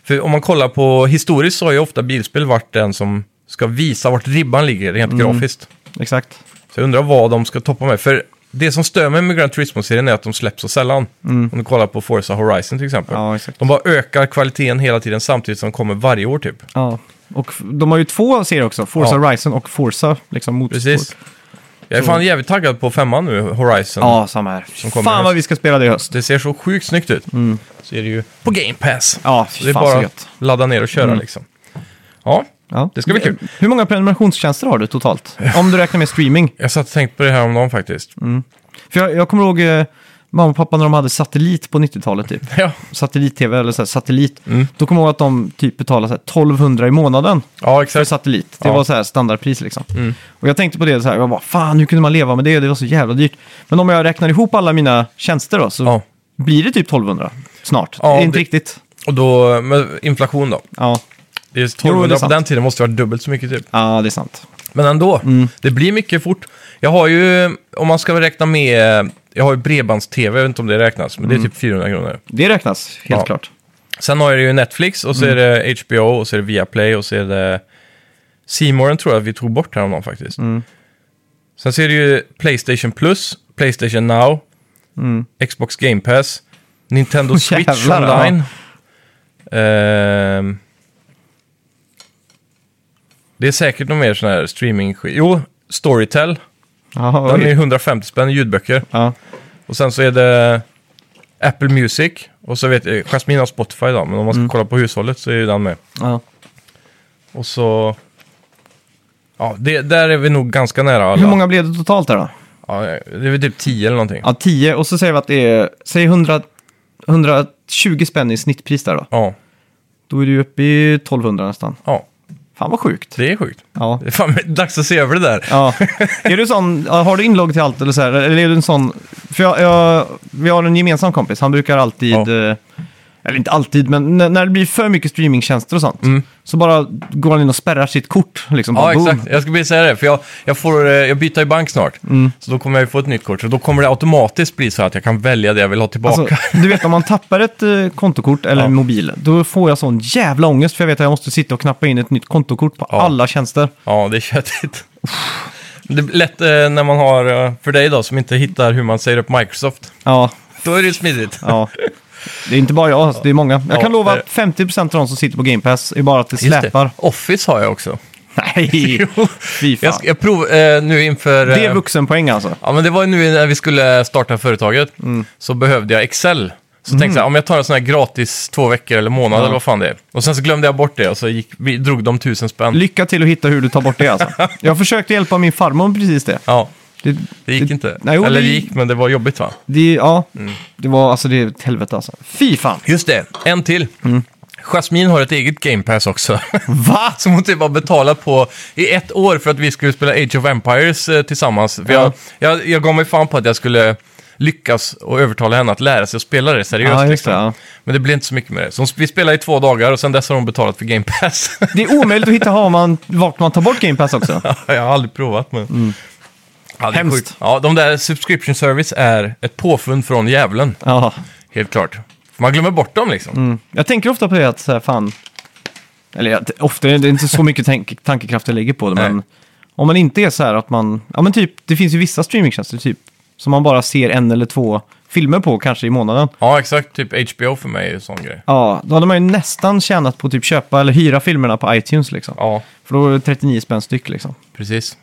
Speaker 2: För om man kollar på historiskt så har ju ofta bilspel varit den som ska visa vart ribban ligger rent
Speaker 1: Mm.
Speaker 2: grafiskt.
Speaker 1: Exakt.
Speaker 2: Så jag undrar vad de ska toppa med. För det som stör mig med Gran Turismo-serien är att de släpps så sällan. Om du kollar på Forza Horizon till exempel.
Speaker 1: Mm. Ja, exakt.
Speaker 2: De bara ökar kvaliteten hela tiden samtidigt som de kommer varje år typ.
Speaker 1: Ja. Och f- de har ju två serier också, Forza
Speaker 2: Ja.
Speaker 1: Horizon och Forza liksom motorsport.
Speaker 2: Precis. Jag är fan jävligt taggad på femman nu, Horizon.
Speaker 1: Ja, samma här.
Speaker 2: kommer i
Speaker 1: Fan vad
Speaker 2: höst.
Speaker 1: vi ska spela det i höst.
Speaker 2: Det ser så sjukt snyggt ut. Så är det ju på Game Pass.
Speaker 1: Mm. Ja,
Speaker 2: Så det
Speaker 1: fy
Speaker 2: är
Speaker 1: fan så
Speaker 2: bara att
Speaker 1: gött. Mm.
Speaker 2: ladda ner och köra liksom. Ja,
Speaker 1: Ja.
Speaker 2: det ska bli kul.
Speaker 1: Hur många prenumerationstjänster har du totalt? Om du räknar med streaming.
Speaker 2: jag satt och tänkte på det här om dagen faktiskt.
Speaker 1: För jag, jag kommer ihåg eh, mamma och pappa när de hade satellit på 90-talet typ.
Speaker 2: Ja.
Speaker 1: Satellit-tv eller så här, satellit.
Speaker 2: Mm.
Speaker 1: Då kommer jag ihåg att de typ betalade så här, 1200 i månaden
Speaker 2: ja,
Speaker 1: för
Speaker 2: exakt.
Speaker 1: satellit. Det
Speaker 2: Ja. Mm.
Speaker 1: var så här standardpris liksom. Och jag tänkte på det så här, jag bara fan hur kunde man leva med det? Det var så jävla dyrt. Men om jag räknar ihop alla mina tjänster då så
Speaker 2: Ja.
Speaker 1: blir det typ 1200 snart.
Speaker 2: Ja,
Speaker 1: det är inte
Speaker 2: det-
Speaker 1: riktigt.
Speaker 2: Och då med inflation då.
Speaker 1: Ja.
Speaker 2: Det är
Speaker 1: Jo, det
Speaker 2: 1200
Speaker 1: är
Speaker 2: på
Speaker 1: sant.
Speaker 2: den tiden måste det vara dubbelt så mycket typ.
Speaker 1: ja, det är sant.
Speaker 2: Men ändå, det blir mycket fort. Jag har ju, om man ska räkna med, jag har ju bredbands-tv, jag vet inte om det räknas, men det är typ 400 kronor.
Speaker 1: Det räknas helt
Speaker 2: Ja.
Speaker 1: klart.
Speaker 2: Sen har jag ju Netflix och så är
Speaker 1: Mm.
Speaker 2: det HBO och så är det Viaplay och så är det Seymour tror jag vi tog bort häromdagen faktiskt.
Speaker 1: Mm.
Speaker 2: Sen så är det ju Playstation Plus, Playstation Now, Xbox Game Pass, Nintendo Switch
Speaker 1: Mm. Jävlar, ja.
Speaker 2: online. Ehm. det är säkert någon mer sån här streaming Jo, Storytel.
Speaker 1: Ja,
Speaker 2: Den är
Speaker 1: oj.
Speaker 2: 150 spänn i ljudböcker.
Speaker 1: ja.
Speaker 2: Och sen så är det Apple Music. Och så vet jag, Jasmine har Spotify idag, men
Speaker 1: Mm.
Speaker 2: om man ska kolla på hushållet så är ju den med.
Speaker 1: Ja.
Speaker 2: Och så... Ja, det, där är vi nog ganska nära alla.
Speaker 1: Hur många blev det totalt där då?
Speaker 2: Ja, det är väl typ 10 eller någonting. Ja.
Speaker 1: Ja, 10 och så säger vi att det är, säg 100, 120 spänn i snittpris där då.
Speaker 2: ja.
Speaker 1: Då är du uppe i 1200 nästan. Fan vad sjukt.
Speaker 2: det är sjukt.
Speaker 1: Ja.
Speaker 2: Det är fan dags att se över det där.
Speaker 1: ja. är du sån, ja, har du inlogg till allt eller så här? Eller är du en sån, för jag, jag, vi har en gemensam kompis, han brukar alltid,
Speaker 2: Ja.
Speaker 1: eh, eller inte alltid, men när, när det blir för mycket streamingtjänster och sånt, så bara går han in och spärrar sitt kort. Liksom,
Speaker 2: Mm. Ja,
Speaker 1: bara, boom.
Speaker 2: exakt. Jag skulle vilja säga det, för jag, jag, får, eh, jag byter ju bank snart.
Speaker 1: Mm.
Speaker 2: Så då kommer jag ju få ett nytt kort. Så då kommer det automatiskt bli så att jag kan välja det jag vill ha tillbaka.
Speaker 1: Alltså, du vet om man tappar ett eh, kontokort eller
Speaker 2: Ja.
Speaker 1: en mobil, då får jag sån jävla ångest för jag vet att jag måste sitta och knappa in ett nytt kontokort på
Speaker 2: Ja.
Speaker 1: alla tjänster.
Speaker 2: Ja, det är köttigt. Det är lätt eh, när man har, eh, för dig då, som inte hittar hur man säger upp Microsoft.
Speaker 1: Ja,
Speaker 2: Då är det ju smidigt.
Speaker 1: ja. Det är inte bara jag, alltså, det är många. Jag
Speaker 2: Ja,
Speaker 1: kan lova
Speaker 2: det är
Speaker 1: att 50% av de som sitter på Game Pass är bara att det
Speaker 2: Just det.
Speaker 1: släpar.
Speaker 2: Office har jag också.
Speaker 1: Nej, fy fan.
Speaker 2: Jag, ska, jag prov, eh, nu inför...
Speaker 1: Det är
Speaker 2: eh,
Speaker 1: vuxenpoäng alltså.
Speaker 2: Ja, men det var ju nu när vi skulle starta företaget så behövde jag Excel. Så tänkte jag, om jag tar en sån här gratis två veckor eller månad eller vad fan det är. Och sen så glömde jag bort det och så gick, vi drog de tusen spänn.
Speaker 1: Lycka till att hitta hur du tar bort det alltså. Jag försökte hjälpa min farmor med precis det.
Speaker 2: ja,
Speaker 1: Det,
Speaker 2: det gick inte.
Speaker 1: Nej, jo,
Speaker 2: eller det
Speaker 1: det-
Speaker 2: gick, Mm. men det var jobbigt va?
Speaker 1: det, ja, det var alltså det är ett helvete alltså. Fy fan.
Speaker 2: Just det, en till. Jasmine har ett eget Game Pass också.
Speaker 1: Va?
Speaker 2: Som hon typ har betalat på i ett år för att vi skulle spela Age of Empires eh, tillsammans. För jag,
Speaker 1: Ja.
Speaker 2: jag, jag gav mig fan på att jag skulle lyckas och övertala henne att lära sig att spela det seriöst.
Speaker 1: Ja, just
Speaker 2: liksom.
Speaker 1: det, ja.
Speaker 2: Men det blev inte så mycket med det. Så hon, vi spelade i två dagar och sen dess har hon betalat för Game Pass.
Speaker 1: Det är omöjligt att hitta har man, vart man tar bort Game Pass också.
Speaker 2: jag har aldrig provat men... Ja, det är
Speaker 1: Mm. Hemskt.
Speaker 2: sjukt. Ja, de där subscription service är ett påfund från djävulen.
Speaker 1: Ja.
Speaker 2: Helt klart. Man glömmer bort dem liksom.
Speaker 1: Jag tänker ofta på det att så här, fan... Eller jag, ofta, det är inte så mycket tank, tankekraft jag lägger på det, men...
Speaker 2: Nej.
Speaker 1: Om man inte är så här att man... Ja men typ, det finns ju vissa streamingtjänster typ. Som man bara ser en eller två filmer på kanske i månaden.
Speaker 2: Ja, exakt. Typ HBO för mig är ju en sån grej.
Speaker 1: Ja, då hade man ju nästan tjänat på att typ köpa eller hyra filmerna på iTunes liksom.
Speaker 2: Ja,
Speaker 1: För då är det 39 spänn styck liksom.
Speaker 2: precis.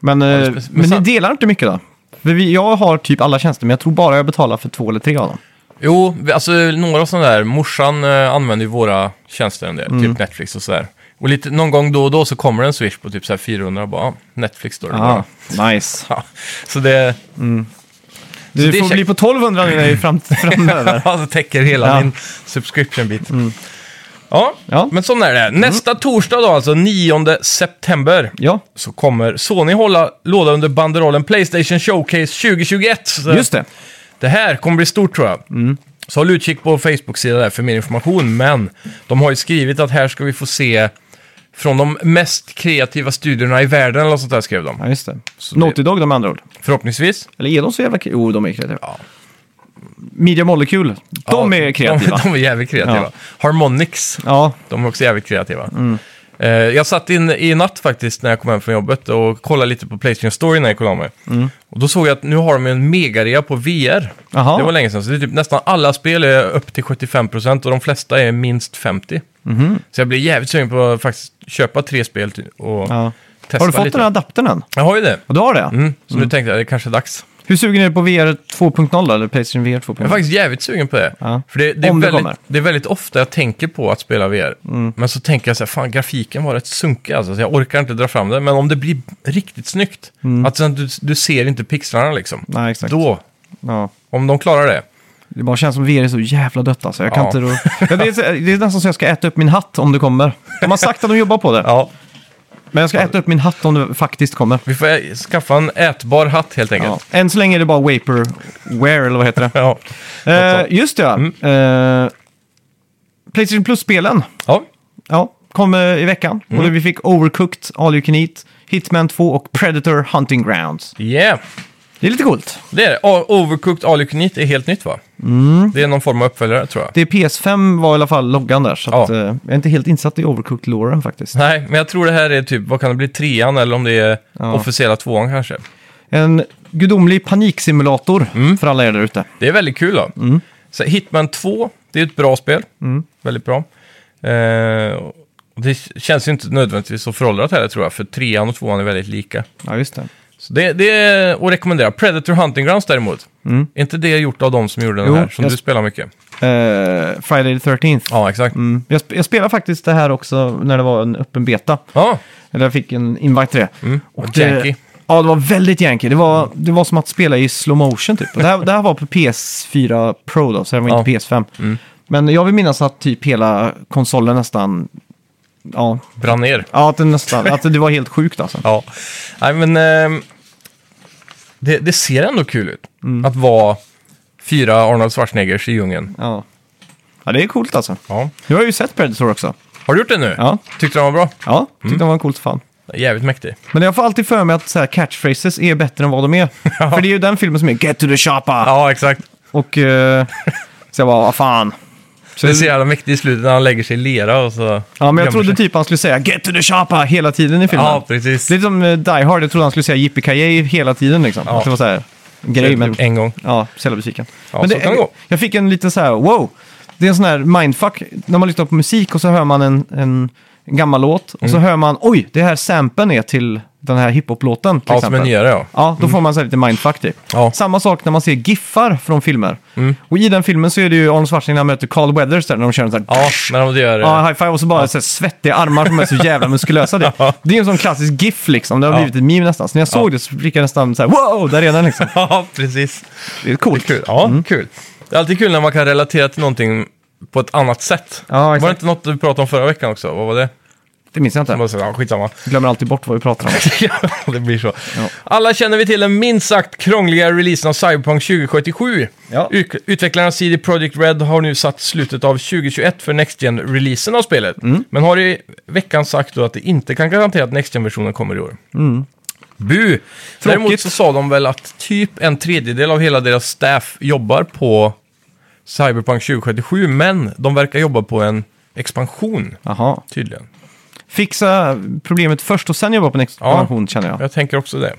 Speaker 1: Men, eh,
Speaker 2: det är
Speaker 1: men,
Speaker 2: spec- men
Speaker 1: ni
Speaker 2: sen-
Speaker 1: delar inte mycket då? För vi, jag har typ alla tjänster, men jag tror bara jag betalar för två eller tre av dem.
Speaker 2: Jo, vi- alltså några sådana där. Morsan eh, använder ju våra tjänster en del,
Speaker 1: Mm.
Speaker 2: typ Netflix och sådär. Och lite, någon gång då och då så kommer det en Swish på typ så här 400 och bara, ah, Netflix står det bara.
Speaker 1: nice.
Speaker 2: Ja, så det Så
Speaker 1: Du
Speaker 2: det är
Speaker 1: får bli på 1200 nu när vi är fram, framöver.
Speaker 2: alltså, täcker hela
Speaker 1: Ja. Mm.
Speaker 2: min subscription-bit. Ja,
Speaker 1: Ja. Mm.
Speaker 2: men sån är det. Nästa torsdag då, alltså 9 september,
Speaker 1: Ja,
Speaker 2: så kommer Sony hålla låda under banderollen Playstation Showcase 2021. Så
Speaker 1: just det.
Speaker 2: Det här kommer bli stort tror jag.
Speaker 1: Mm.
Speaker 2: Så håll utkik på Facebook-sidan där för mer information. Men de har ju skrivit att här ska vi få se från de mest kreativa studiorna i världen eller något sånt där skrev de.
Speaker 1: Ja, just det.
Speaker 2: det-
Speaker 1: Naughty Dog de andra ord.
Speaker 2: Förhoppningsvis.
Speaker 1: Eller är de så jävla kreativa? Jo, de är kreativa. Media Molecule, de
Speaker 2: Ja,
Speaker 1: är kreativa.
Speaker 2: De, de är jävligt kreativa.
Speaker 1: Ja.
Speaker 2: Harmonix,
Speaker 1: Ja,
Speaker 2: de är också jävligt kreativa.
Speaker 1: Mm.
Speaker 2: Eh, jag satt in i natt faktiskt när jag kom hem från jobbet och kollade lite på Playstation Story när jag kollade mig.
Speaker 1: Mm.
Speaker 2: Och då såg jag att nu har de ju en megarea på VR.
Speaker 1: Jaha.
Speaker 2: Det var länge sedan, så det är typ nästan alla spel är upp till 75% och de flesta är minst 50%.
Speaker 1: Mhm.
Speaker 2: Så jag blir jävligt sugen på att faktiskt köpa tre spel ty- och
Speaker 1: ja.
Speaker 2: testa
Speaker 1: Har du fått
Speaker 2: lite.
Speaker 1: den här adaptern än?
Speaker 2: Jag har ju det.
Speaker 1: Ja, du har det?
Speaker 2: Mm. Så nu tänkte jag det kanske är dags.
Speaker 1: Hur sugen är du på VR 2.0 eller Playstation VR 2.0?
Speaker 2: Jag är faktiskt jävligt sugen på det.
Speaker 1: Ja.
Speaker 2: För det, det, är
Speaker 1: Om det
Speaker 2: väldigt,
Speaker 1: kommer. Mm.
Speaker 2: det är väldigt ofta jag tänker på att spela VR. Men så tänker jag så här, fan grafiken var rätt sunkig alltså, så jag orkar inte dra fram det. Men om det blir riktigt snyggt, att sen du, du ser inte pixlarna liksom.
Speaker 1: Mm. Nej, exakt.
Speaker 2: Då,
Speaker 1: Ja.
Speaker 2: om de klarar det.
Speaker 1: Det bara känns som VR är så jävla dött alltså. Jag kan
Speaker 2: Ja.
Speaker 1: inte... Ro... Men det, är, så- det är nästan så jag ska äta upp min hatt om det kommer. De har sagt att de jobbar på det.
Speaker 2: Ja,
Speaker 1: Men jag ska äta upp min hatt om det faktiskt kommer.
Speaker 2: vi får ä- skaffa en ätbar hatt helt
Speaker 1: Ja.
Speaker 2: enkelt.
Speaker 1: Än så länge är det bara Vaporware, eller vad heter det?
Speaker 2: Ja,
Speaker 1: Eh, just det, ja. Eh, Playstation Plus-spelen
Speaker 2: ja.
Speaker 1: ja, kom eh, i veckan. Och vi fick Overcooked, All You Can Eat, Hitman 2 och Predator Hunting Grounds.
Speaker 2: yeah.
Speaker 1: Det är lite coolt.
Speaker 2: Det är det. O- Overcooked All You Can Eat är helt nytt va? Det är någon form av uppföljare tror jag.
Speaker 1: Mm. Det är PS5 var i alla fall loggan där, så
Speaker 2: Ja.
Speaker 1: att, eh, jag är inte helt insatt i Overcooked-loren faktiskt.
Speaker 2: Nej, men jag tror det här är typ, vad kan det bli, trean eller om det är officiella tvåan kanske.
Speaker 1: En gudomlig paniksimulator för alla er där ute.
Speaker 2: Det är väldigt kul då.
Speaker 1: Mm.
Speaker 2: Så Hitman 2, det är ett bra spel. Väldigt bra. Eh, och det känns ju inte nödvändigtvis så föråldrat heller tror jag, för trean och tvåan är väldigt lika.
Speaker 1: Ja, just det.
Speaker 2: Så det, det är att rekommendera. Predator Hunting Grounds däremot. Är inte det gjort av de som gjorde den
Speaker 1: Mm. Jo,
Speaker 2: här, som
Speaker 1: jag-
Speaker 2: du spelar mycket?
Speaker 1: Eh, Friday the 13th.
Speaker 2: Ja, exakt.
Speaker 1: Mm. Jag, sp- jag spelade faktiskt det här också när det var en öppen beta.
Speaker 2: Ja,
Speaker 1: Eller jag fick en invite till det.
Speaker 2: och janky.
Speaker 1: Ja, det var väldigt janky. Det var, det var som att spela i slow motion typ. Och det, här, det här var på PS4 Pro då, så det var inte
Speaker 2: Ja. Mm.
Speaker 1: PS5. Men jag vill minnas att typ hela konsolen nästan... Ja,
Speaker 2: brann ner.
Speaker 1: ja att, det nästan, att det var helt sjukt alltså.
Speaker 2: Ja, nej men ehm, det, det ser ändå kul ut.
Speaker 1: Mm.
Speaker 2: Att vara fyra Arnold Schwarzeneggers i djungeln.
Speaker 1: Ja. ja, det är coolt alltså.
Speaker 2: Ja.
Speaker 1: Nu har jag ju sett Predator också.
Speaker 2: Har du gjort det nu?
Speaker 1: Ja.
Speaker 2: Tyckte du den var bra?
Speaker 1: Ja, tyckte
Speaker 2: Mm.
Speaker 1: den var coolt fan.
Speaker 2: Jävligt mäktig.
Speaker 1: Men jag får alltid för mig att så här catchphrases är bättre än vad de är. För det är ju den filmen som är “Get to the shoppa”
Speaker 2: Ja, exakt.
Speaker 1: och eh, så jag bara “Vad fan”. Så
Speaker 2: Det är så jävla mäktigt i slutet när han lägger sig i lera och så...
Speaker 1: ja, men
Speaker 2: gömmer
Speaker 1: jag trodde
Speaker 2: sig.
Speaker 1: typ han skulle säga “Get to the shoppa” hela tiden i filmen.
Speaker 2: Ja, precis.
Speaker 1: Det är som eh, Die Hard, jag trodde han skulle säga “Yippie Kaye” hela tiden liksom.
Speaker 2: Ja.
Speaker 1: Att det var så här en grej, men
Speaker 2: En gång.
Speaker 1: ja, så jävla besviken.
Speaker 2: Ja,
Speaker 1: men
Speaker 2: så kan det gå.
Speaker 1: jag fick en liten så här “Wow”. Det är en sån här mindfuck, när man lyssnar på musik och så hör man en, en gammal låt och
Speaker 2: Mm.
Speaker 1: så hör man “Oj, det här sampen är till den här hiphop-låten” till
Speaker 2: Ja, som
Speaker 1: exempel.
Speaker 2: en nyare ja.
Speaker 1: Ja, då får man så här lite mindfuck typ.
Speaker 2: Ja. Mm.
Speaker 1: Samma sak när man ser giffar från filmer. Och i den filmen så är det ju Arnold Schwarzenegger när han möter Carl Weathers där när de kör en sån här...
Speaker 2: Ja, när de gör...
Speaker 1: Ja,
Speaker 2: Ja,
Speaker 1: high five och så bara så här svettiga armar som är så jävla muskulösa. Det,
Speaker 2: Ja.
Speaker 1: det är en sån klassisk GIF liksom. Det har
Speaker 2: Ja.
Speaker 1: blivit ett meme nästan. Så när jag såg det så fick jag nästan så här wow, där är den liksom.
Speaker 2: ja precis.
Speaker 1: Det är coolt.
Speaker 2: Kul. Ja, kul. Det är alltid kul när man kan relatera till någonting på ett annat sätt.
Speaker 1: Ja, exakt.
Speaker 2: var det inte något du pratade om förra veckan också? Vad var det?
Speaker 1: Det minns jag
Speaker 2: Jag
Speaker 1: inte.
Speaker 2: bara så, ja, skitsamma.
Speaker 1: Glömmer alltid bort vad vi pratar om.
Speaker 2: Ja, det blir så. Alla känner vi till den minst sagt krångliga releasen av Cyberpunk 2077.
Speaker 1: Ja.
Speaker 2: Ut- Utvecklarna CD Projekt Red har nu satt slutet av 2021 för Next Gen-releasen av spelet.
Speaker 1: Mm.
Speaker 2: Men har i veckan sagt då att det inte kan garantera att Next Gen-versionen kommer i år.
Speaker 1: Mm.
Speaker 2: Bu! Däremot så sa de väl att typ en tredjedel av hela deras staff jobbar på Cyberpunk 2077, men de verkar jobba på en expansion,
Speaker 1: Jaha.
Speaker 2: tydligen.
Speaker 1: Fixa problemet först och sen jobba på en expansion känner jag.
Speaker 2: Jag tänker också det.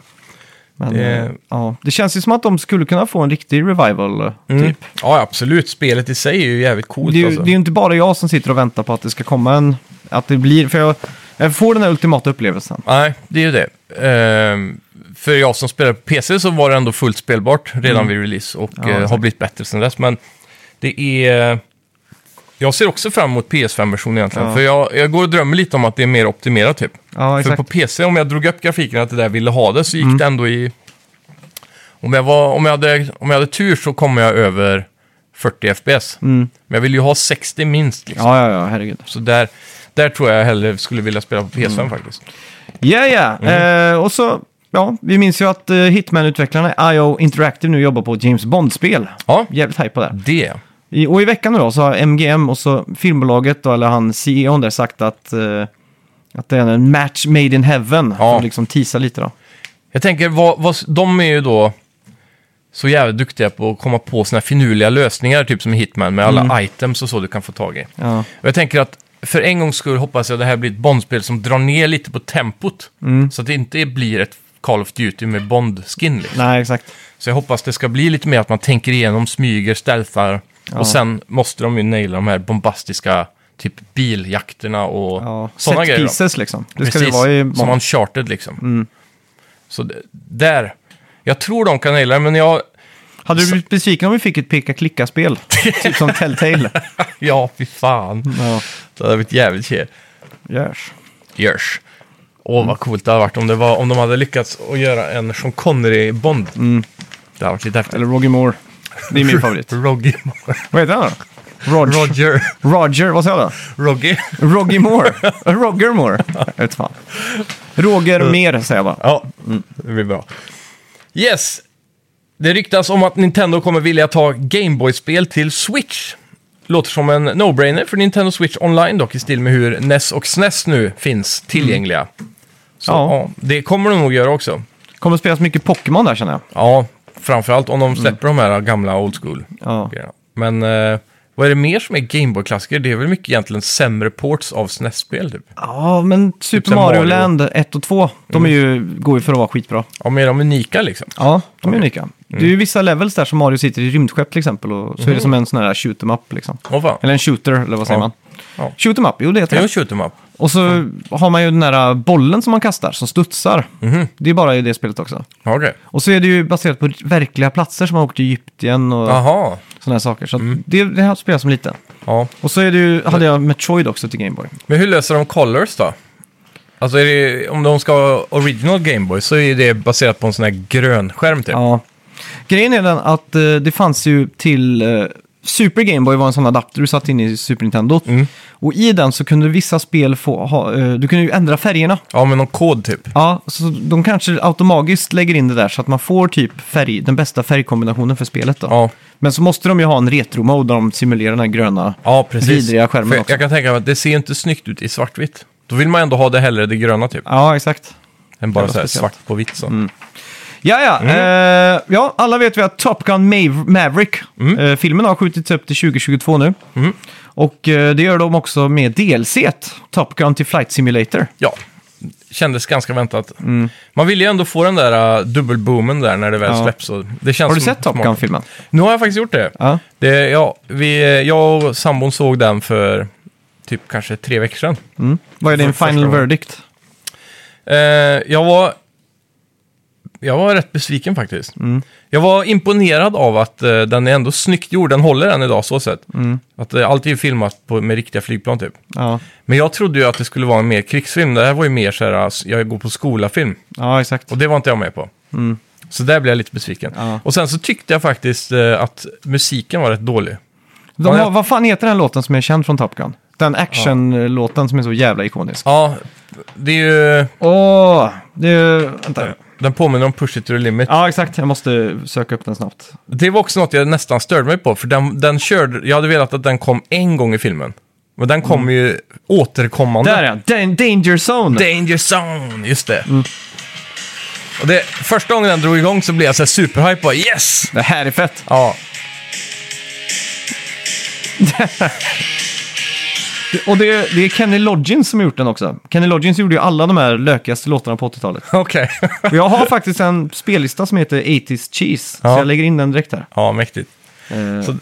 Speaker 1: Men,
Speaker 2: Det-
Speaker 1: eh, ja. det känns ju som att de skulle kunna få en riktig revival. eh,
Speaker 2: Mm.
Speaker 1: Typ.
Speaker 2: Ja, absolut. Spelet i sig är ju jävligt coolt
Speaker 1: Det, är ju,
Speaker 2: alltså.
Speaker 1: det är ju inte bara jag som sitter och väntar på att det ska komma en... Att det blir... För jag, jag får den här ultimata upplevelsen.
Speaker 2: Nej, det är ju det. Ehm, för jag som spelar på PC så var det ändå fullt spelbart redan vid release och eh, har
Speaker 1: Mm. exakt.
Speaker 2: blivit bättre sedan dess. Men det är... Jag ser också fram emot PS5-versionen egentligen.
Speaker 1: Ja.
Speaker 2: För jag, jag går och drömmer lite om att det är mer optimerat typ.
Speaker 1: Ja,
Speaker 2: för
Speaker 1: exakt. Mm.
Speaker 2: på PC, om jag drog upp grafiken att det där ville ha det, så gick det ändå i... Om jag, var, om, jag hade, om jag hade tur så kom jag över 40 FPS.
Speaker 1: Mm.
Speaker 2: Men jag vill ju ha 60 minst liksom.
Speaker 1: Ja, ja, ja, herregud.
Speaker 2: Så där, där tror jag hellre skulle vilja spela på PS5 faktiskt.
Speaker 1: Ja, ja.
Speaker 2: Mm.
Speaker 1: Eh, och så, ja, vi minns ju att eh, Hitman-utvecklarna IO Interactive nu jobbar på ett James Bond-spel.
Speaker 2: Ja,
Speaker 1: Jävligt hype på det.
Speaker 2: det.
Speaker 1: I, och i veckan nu då så har MGM och så filmbolaget, då, eller han CEOn där, sagt att, eh, att det är en match made in heaven.
Speaker 2: Ja.
Speaker 1: För att liksom tisa lite då.
Speaker 2: Jag tänker, vad, vad, de är ju då så jävligt duktiga på att komma på såna här finurliga lösningar, typ som i Hitman, med alla items och så du kan få tag i.
Speaker 1: Ja,
Speaker 2: Och jag tänker att för en gångs skull hoppas jag att det här blir ett Bondspel som drar ner lite på tempot. Så att det inte blir ett Call of Duty med Bond-skin. Liksom.
Speaker 1: nej exakt.
Speaker 2: Så jag hoppas det ska bli lite mer att man tänker igenom, smyger, stealthar.
Speaker 1: Ja.
Speaker 2: Och sen måste de ju naila de här bombastiska typ biljakterna och
Speaker 1: Ja.
Speaker 2: sådana
Speaker 1: Set
Speaker 2: grejer. då.
Speaker 1: pieces liksom. Det ska
Speaker 2: Precis,
Speaker 1: det vara i Mm.
Speaker 2: som
Speaker 1: Bond.
Speaker 2: uncharted liksom. Så d- där. Jag tror de kan naila det, men jag...
Speaker 1: Hade du blivit besviken om vi fick ett peka-klicka-spel? typ som Telltale.
Speaker 2: Ja, fy fan.
Speaker 1: Ja,
Speaker 2: Det hade varit jävligt tje.
Speaker 1: görs.
Speaker 2: Görs. Åh,
Speaker 1: Mm.
Speaker 2: vad coolt det hade varit om, det var, om de hade lyckats att göra en Sean Connery-Bond. Det hade varit lite häftigt.
Speaker 1: Eller Roger Moore. Det är Mm. min favorit.
Speaker 2: Roggy.
Speaker 1: Vad heter han då? Roger. Roger.
Speaker 2: Roger.
Speaker 1: vad sa jag då?
Speaker 2: Roggy.
Speaker 1: Roger Moore. Roger Moore. Jag vet fan. Roger Mer säger jag bara.
Speaker 2: Ja, det blir bra. Yes! Det ryktas om att Nintendo kommer vilja ta Gameboy-spel till Switch. Låter som en no-brainer för Nintendo Switch Online dock, i stil med hur NES och SNES nu finns tillgängliga. Så ja.
Speaker 1: Mm. Ja.
Speaker 2: det kommer de nog göra också.
Speaker 1: Kommer att spelas mycket Pokémon där känner jag.
Speaker 2: Ja, framförallt om de släpper de här gamla old school.
Speaker 1: Mm. Ja.
Speaker 2: grejerna. Men eh, vad är det mer som är Gameboy-klassiker? Det är väl mycket egentligen sämre ports av SNES-spel typ.
Speaker 1: Ja, men Super
Speaker 2: som
Speaker 1: Mario,
Speaker 2: Mario.
Speaker 1: Land 1 och 2, de är ju, går ju för att vara skitbra.
Speaker 2: Ja, men är de unika liksom?
Speaker 1: Ja, de är Mm. unika. Det är ju vissa levels där som Mario sitter i rymdskepp till exempel och så är det som en sån här shoot 'em up liksom.
Speaker 2: Åh fan.
Speaker 1: Eller en shooter, eller vad säger
Speaker 2: Ja.
Speaker 1: man?
Speaker 2: Ja.
Speaker 1: Shoot 'em up, jo det
Speaker 2: Det
Speaker 1: heter
Speaker 2: är
Speaker 1: det.
Speaker 2: en shoot 'em up.
Speaker 1: Och så har man ju den där bollen som man kastar, som studsar. Det är bara i det spelet också.
Speaker 2: Ja, Okej.
Speaker 1: Och så är det ju baserat på verkliga platser som man åkt till Egypten och såna
Speaker 2: Jaha.
Speaker 1: sådana här saker. Så att
Speaker 2: Mm.
Speaker 1: det, det här spelar jag som liten.
Speaker 2: Ja.
Speaker 1: Och så är det ju, hade jag Metroid också till Gameboy.
Speaker 2: Men hur löser de colors då? Alltså är det, om de ska ha original Gameboy så är det baserat på en sån här grön skärm typ.
Speaker 1: Ja. Grejen är den att eh, det fanns ju till eh, Super Game Boy var en sån adapter du satte in i Super Nintendo.
Speaker 2: Mm.
Speaker 1: Och i den så kunde vissa spel få ha, eh, du kunde ju ändra färgerna.
Speaker 2: Ja, men någon kod typ.
Speaker 1: Ja, så de kanske automatiskt lägger in det där så att man får typ färg, den bästa färgkombinationen för spelet då.
Speaker 2: Ja,
Speaker 1: Men så måste de ju ha en retro-mode där de simulerar den här gröna.
Speaker 2: ja precis.
Speaker 1: Vidriga skärmen
Speaker 2: För jag-
Speaker 1: också.
Speaker 2: Jag kan tänka mig att det ser ju inte snyggt ut i svartvitt. Då vill man ändå ha det hellre det gröna typ.
Speaker 1: Ja, exakt.
Speaker 2: Än bara
Speaker 1: jävla
Speaker 2: så här
Speaker 1: speciellt. Mm.
Speaker 2: svart på vitt så.
Speaker 1: Ja, ja.
Speaker 2: Mm.
Speaker 1: Eh, ja, alla vet vi att Top Gun Mav- Maverick,
Speaker 2: Mm.
Speaker 1: eh, filmen har skjutits upp till 2022 nu. Och eh, det gör de också med DLC, Top Gun till Flight Simulator.
Speaker 2: Ja, kändes ganska väntat. Man vill ju ändå få den där äh, dubbelboomen där när det väl
Speaker 1: Mm. Ja.
Speaker 2: släpps. Och det känns
Speaker 1: Har du
Speaker 2: som
Speaker 1: sett Top
Speaker 2: Alltså, smart.
Speaker 1: Gun-filmen?
Speaker 2: Nu har jag faktiskt gjort det.
Speaker 1: Ja.
Speaker 2: det ja, vi, jag och sambon såg den för typ kanske tre veckor sedan.
Speaker 1: Vad är din
Speaker 2: För-
Speaker 1: final
Speaker 2: första gången.
Speaker 1: verdict?
Speaker 2: Eh, jag var... Jag var rätt besviken faktiskt. Jag var imponerad av att eh, den är ändå snyggt gjord. Den håller än idag så sett. Att eh, allt är ju filmat på, med riktiga flygplan typ.
Speaker 1: Ja,
Speaker 2: Men jag trodde ju att det skulle vara en mer krigsfilm. Det här var ju mer så här, alltså, jag går på skolafilm.
Speaker 1: ja exakt.
Speaker 2: Och det var inte jag med på. Så där blev jag lite besviken.
Speaker 1: Ja.
Speaker 2: Och sen så tyckte jag faktiskt eh, att musiken var rätt dålig.
Speaker 1: De
Speaker 2: Ja,
Speaker 1: har,
Speaker 2: jag-
Speaker 1: Vad fan heter den låten som är känd från Top Gun? Den action-låten som är så jävla ikonisk.
Speaker 2: Ja, det är ju...
Speaker 1: Åh, det är... Vänta.
Speaker 2: Den påminner om Push It To The Limit.
Speaker 1: Ja, exakt. Jag måste söka upp den snabbt.
Speaker 2: Det var också något jag nästan störde mig på, för den, den körde, jag hade velat att den kom en gång i filmen. Men den kom ju återkommande.
Speaker 1: Där är den! Danger Zone!
Speaker 2: Danger Zone, just det. Och det. Första gången den drog igång så blev jag så här superhype bara yes!
Speaker 1: Det här är fett!
Speaker 2: Ja.
Speaker 1: Och det är, det är Kenny Loggins som har gjort den också. Kenny Loggins gjorde ju alla de här lökigaste låtarna på 80-talet.
Speaker 2: Okej.
Speaker 1: Och jag har faktiskt en spellista som heter 80s Cheese,
Speaker 2: Ja.
Speaker 1: så jag lägger in den direkt här.
Speaker 2: Ja, mäktigt.
Speaker 1: Eh,
Speaker 2: Så-